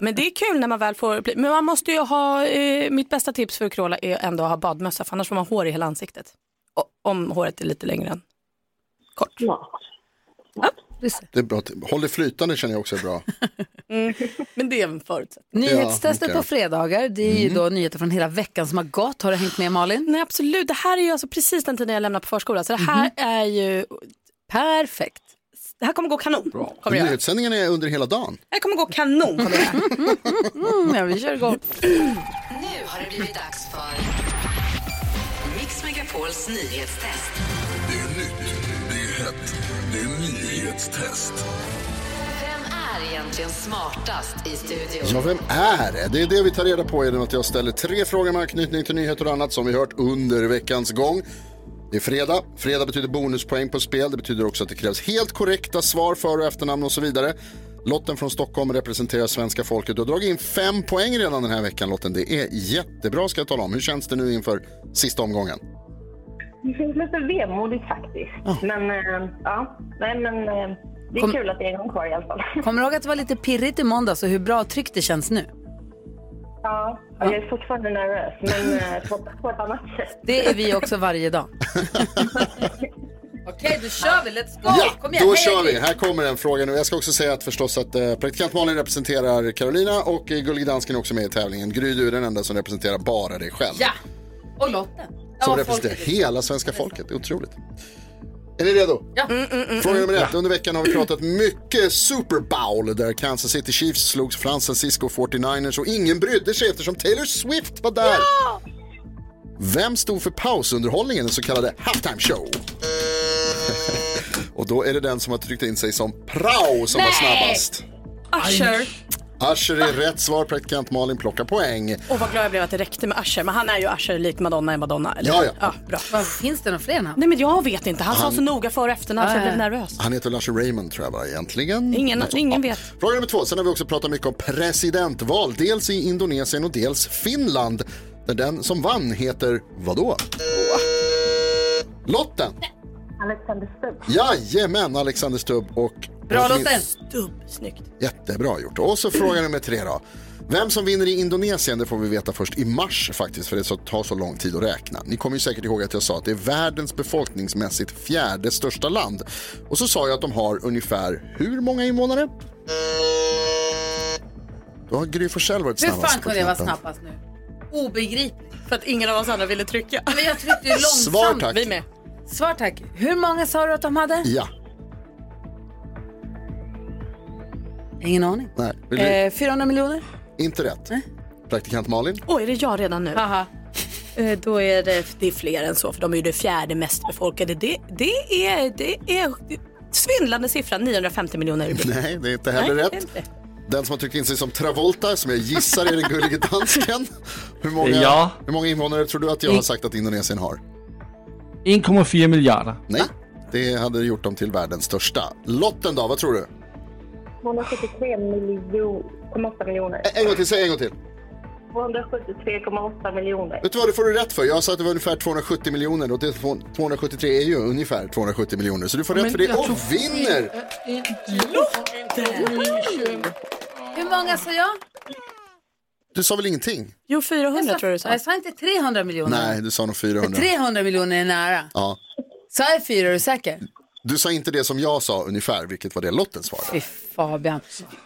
Speaker 7: Men det är kul när man väl får, bli- men man måste ju ha, eh, mitt bästa tips för att crawla är ändå att ha badmössa för annars får man hår i hela ansiktet. O- om håret är lite längre än kort.
Speaker 2: Det är bra. Håll det flytande känner jag också är bra.
Speaker 7: Mm. Men det är en förutsättning.
Speaker 1: Nyhetstestet
Speaker 2: Ja, okej.
Speaker 1: på fredagar, det är ju då nyheter från hela veckan som har gått. Har du hängt med Malin?
Speaker 7: Nej absolut, det här är ju alltså precis den tiden jag lämnar på förskolan så det
Speaker 1: Mhm.
Speaker 7: här är ju perfekt. Det här kommer gå kanon. Kommer det, göra.
Speaker 2: Nyhetssändningarna är under hela dagen.
Speaker 7: det här kommer gå kanon. Kommer det. göra.
Speaker 1: Mm, [LAUGHS] ja, vi kör igång.
Speaker 19: Nu har det blivit dags för Mix Megapols nyhetstest.
Speaker 9: Det är nytt, det är hett, det är nyhetstest.
Speaker 19: Vem är egentligen smartast i studion?
Speaker 2: Ja, vem är det? Det är det vi tar reda på genom att jag ställer tre frågor med anknytning till nyheter och annat som vi hört under veckans gång. Det är fredag. Fredag betyder bonuspoäng på spel. Det betyder också att det krävs helt korrekta svar, för och efternamn och så vidare. Lotten från Stockholm representerar svenska folket och har dragit in fem poäng redan den här veckan, Lotten. Det är jättebra, ska jag tala om. Hur känns det nu inför sista omgången?
Speaker 5: Det känns lite vemodigt faktiskt. Men eh, ja, nej men eh, det är
Speaker 1: Kom-
Speaker 5: kul att det är någon kvar i alla fall.
Speaker 1: Kommer du ihåg att det var lite pirrigt i måndags och hur bra tryck det känns nu?
Speaker 5: Ja, och jag är fortfarande nervös, men eh, på, på ett annat sätt.
Speaker 1: Det är vi också varje dag. Okej, då kör vi. Let's go! Kom igen,
Speaker 2: Då
Speaker 1: heja
Speaker 2: kör vi.
Speaker 1: Gry!
Speaker 2: Här kommer en fråga nu. Jag ska också säga att förstås att eh, praktikant Malin representerar Carolina och eh, Gullig Dansken är också med i tävlingen. Gry, du är den enda som representerar bara dig själv.
Speaker 1: Ja! Och Lotten.
Speaker 2: Som
Speaker 1: Ja,
Speaker 2: representerar
Speaker 1: folket.
Speaker 2: hela svenska folket. Det är otroligt. Är ni redo?
Speaker 1: Ja. mm,
Speaker 2: Fråga nummer ett. Under veckan har vi pratat mycket Super Bowl där Kansas City Chiefs slogs San Francisco 49ers och ingen brydde sig eftersom Taylor Swift var där. Vem stod för pausunderhållningen, den så kallade halftime show? [LAUGHS] och då är det den som har tryckt in sig som prao som var
Speaker 7: Nej!
Speaker 2: snabbast.
Speaker 7: Usher.
Speaker 2: Asher är rätt svar, praktikant Malin plockar poäng.
Speaker 7: Och vad glad jag blev att det räckte med Usher. Men han är ju Usher lik Madonna är Madonna. Eller?
Speaker 2: Ja, ja.
Speaker 7: bra.
Speaker 1: Finns det några fler namn?
Speaker 7: Nej, men jag vet inte. Han,
Speaker 2: Han-
Speaker 7: sa så noga för och efternamn så jag blev nervös.
Speaker 2: Han heter Lars Raymond tror jag bara egentligen.
Speaker 7: Ingen,
Speaker 2: Något sånt.
Speaker 7: ingen vet.
Speaker 2: Fråga nummer två. Sen har vi också pratat mycket om presidentval, dels i Indonesien och dels Finland. Där den som vann heter vadå? Lotten!
Speaker 5: Alexander Stubb.
Speaker 2: Jajamän, Alexander Stubb och...
Speaker 5: Bra,
Speaker 2: och-
Speaker 5: Lotten!
Speaker 7: Stubb, snyggt.
Speaker 2: Jättebra gjort. Och så fråga nummer tre då. Vem som vinner i Indonesien det får vi veta först i mars faktiskt för det så- tar så lång tid att räkna. Ni kommer ju säkert ihåg att jag sa att det är världens befolkningsmässigt fjärde största land. Och så sa jag att de har ungefär hur många invånare? Då har Gry Forssell varit
Speaker 1: Hur
Speaker 2: snabbast.
Speaker 1: fan
Speaker 2: på
Speaker 1: kunde jag vara
Speaker 2: knappen.
Speaker 1: snabbast nu?
Speaker 7: Obegripligt. För att ingen av oss andra ville trycka.
Speaker 1: Men jag tryckte ju långsamt.
Speaker 2: Svar, tack.
Speaker 1: Vi med. Svar tack. Hur många sa du att de hade?
Speaker 2: Ja.
Speaker 1: Ingen aning.
Speaker 2: Nej, vill du?
Speaker 1: Eh, 400 miljoner?
Speaker 2: Inte rätt.
Speaker 1: Nej.
Speaker 2: Praktikant Malin?
Speaker 7: Oj, är det jag redan nu? [LAUGHS] Eh, Då är det, det är fler än så, för de är ju det fjärde mest befolkade. Det, det, är, det är svindlande siffra, 950 miljoner.
Speaker 2: [LAUGHS] Nej, det är inte heller
Speaker 7: Nej,
Speaker 2: rätt.
Speaker 7: inte.
Speaker 2: Den som har tryckt in sig som Travolta, som jag gissar är
Speaker 7: [LAUGHS]
Speaker 2: den gullige dansken. Hur många,
Speaker 3: Ja.
Speaker 2: hur många invånare tror du att jag har sagt att Indonesien har?
Speaker 3: 1,4 miljarder.
Speaker 2: Nej, det hade gjort dem till världens största. Lotten då, vad tror du?
Speaker 5: 273 miljoner, miljoner.
Speaker 2: En gång till, säg en gång till.
Speaker 5: 273,8 miljoner.
Speaker 2: Vet du vad, det får du rätt för. Jag sa att det var ungefär 270 miljoner och det är 273 är ju ungefär 270 miljoner. Så du får rätt för det och vinner!
Speaker 1: Hur många sa jag?
Speaker 2: Du sa väl ingenting?
Speaker 7: Jo, 400 tror du
Speaker 1: sa. Jag sa inte 300 miljoner.
Speaker 2: Nej, du sa nog 400.
Speaker 1: 300 miljoner är nära.
Speaker 2: Ja.
Speaker 1: Sa jag 4 är du säker?
Speaker 2: Du sa inte det som jag sa ungefär, vilket var det Lotten svarade.
Speaker 1: Fabian.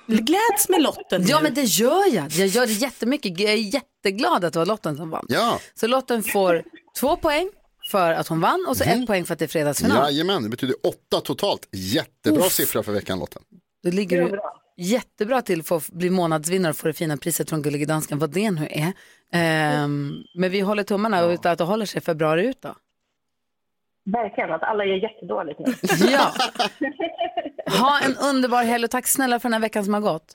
Speaker 7: Gläds med lotten.
Speaker 1: Ja, men det gör jag. Jag gör det jättemycket. Jag är jätteglad att det var Lotten som vann.
Speaker 2: Ja.
Speaker 1: Så Lotten får två poäng för att hon vann och så
Speaker 2: Mhm.
Speaker 1: en poäng för att det är fredagsfinal.
Speaker 2: Jajamän, det betyder åtta totalt. Jättebra
Speaker 1: Uff.
Speaker 2: siffra för veckan Lotten.
Speaker 1: Då ligger du jättebra till för att bli månadsvinnare och få det fina priset från Gullige Dansken, vad det nu är. Ehm, men vi håller tummarna och att det håller sig februari ut då.
Speaker 5: Verkligen, att alla gör jättedåligt nu. [LAUGHS]
Speaker 1: Ha en underbar helg och tack snälla för den här veckan som har gått.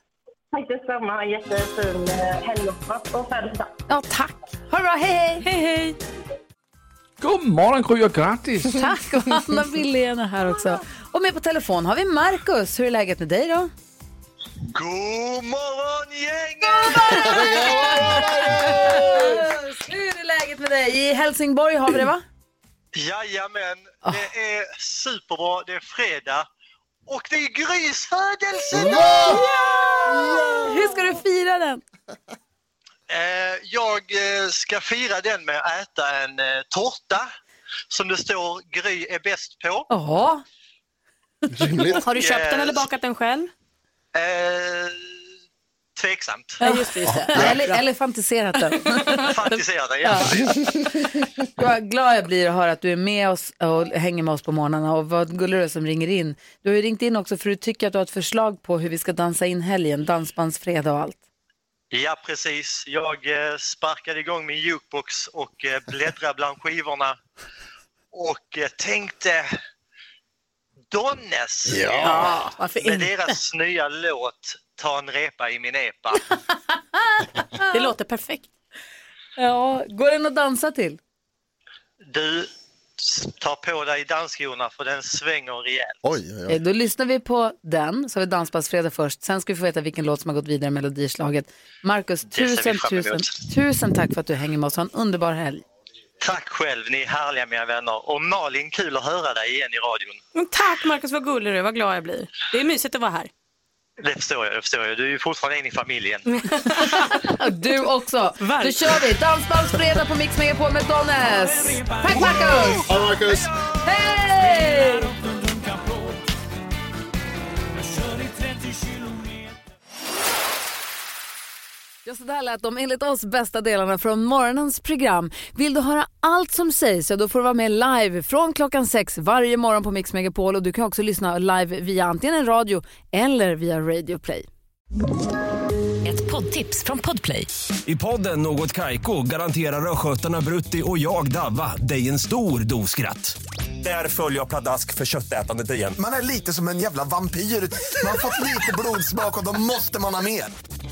Speaker 5: Tack detsamma, ha en jättefin eh, helg och födelsedag.
Speaker 1: Ja, tack. Ha det bra, hej hej! Hej hej!
Speaker 3: Godmorgon Gry och
Speaker 7: [LAUGHS]
Speaker 3: grattis!
Speaker 1: Tack och Anna Billén är här också. Och med på telefon har vi Markus. Hur är läget med dig då?
Speaker 6: God morgon gänget!
Speaker 1: Hur är läget med dig? I Helsingborg har vi det va?
Speaker 6: Jajamän, det är superbra, det är fredag och det är Grys födelsedag!
Speaker 1: Hur ska du fira den?
Speaker 6: Eh, Jag eh, ska fira den med att äta en eh, tårta som det står Gry är bäst på.
Speaker 1: Jaha.
Speaker 2: Rimligt.
Speaker 7: Har du köpt den
Speaker 6: Yes.
Speaker 7: eller bakat den själv?
Speaker 6: Eh, Tveksamt.
Speaker 7: Ja, just det, just det.
Speaker 1: Eller, eller fantiserat den?
Speaker 6: Fantiserar den, ja.
Speaker 1: Vad glad jag blir att höra att du är med oss och hänger med oss på morgnarna och vad gullig du är som ringer in. Du har ju ringt in också för du tycker att du har ett förslag på hur vi ska dansa in helgen, dansbandsfredag och allt.
Speaker 6: Ja, precis. Jag eh, sparkade igång min jukebox och eh, bläddrade bland skivorna och eh, tänkte Donnes
Speaker 17: Ja, Ja, varför
Speaker 6: med
Speaker 17: inte?
Speaker 6: deras nya låt Ta en repa i min epa.
Speaker 7: Det låter perfekt.
Speaker 1: Ja, går den att dansa till?
Speaker 6: Du tar på dig dansskorna för den svänger rejält.
Speaker 2: Oj, oj,
Speaker 1: Eh, Då lyssnar vi på den, så har vi dansbandsfredag först. Sen ska vi få veta vilken låt som har gått vidare i melodislaget. Markus,
Speaker 6: Det ser vi
Speaker 1: tusen,
Speaker 6: fram emot.
Speaker 1: tusen, tusen tack för att du hänger med oss. Ha en underbar helg.
Speaker 6: Tack själv, ni är härliga mina vänner. Och Malin, kul att höra dig igen i radion.
Speaker 7: Men tack Markus, vad gullig du är. Vad glad jag blir. Det är mysigt att vara här.
Speaker 6: Det förstår jag, det förstår jag. Du är ju fortfarande en i familjen.
Speaker 1: [LAUGHS] Du också. Då kör vi dansbandsfredag på Mix Megapol med Donnes. Tack Markus!
Speaker 2: Ha det, Marcus!
Speaker 1: Hej! Ja, så där lät de enligt oss bästa delarna från morgonens program. Vill du höra allt som sägs så då får du vara med live från klockan sex varje morgon på Mix Megapol och du kan också lyssna live via antingen en radio eller via Radio Play.
Speaker 19: Ett poddtips från Podplay.
Speaker 22: I podden Något Kaiko garanterar östgötarna Brutti och jag, Davva, dig en stor dos skratt. Där följer jag pladask för köttätandet igen.
Speaker 9: Man är lite som en jävla vampyr. Man har fått lite blodsmak och då måste man ha mer.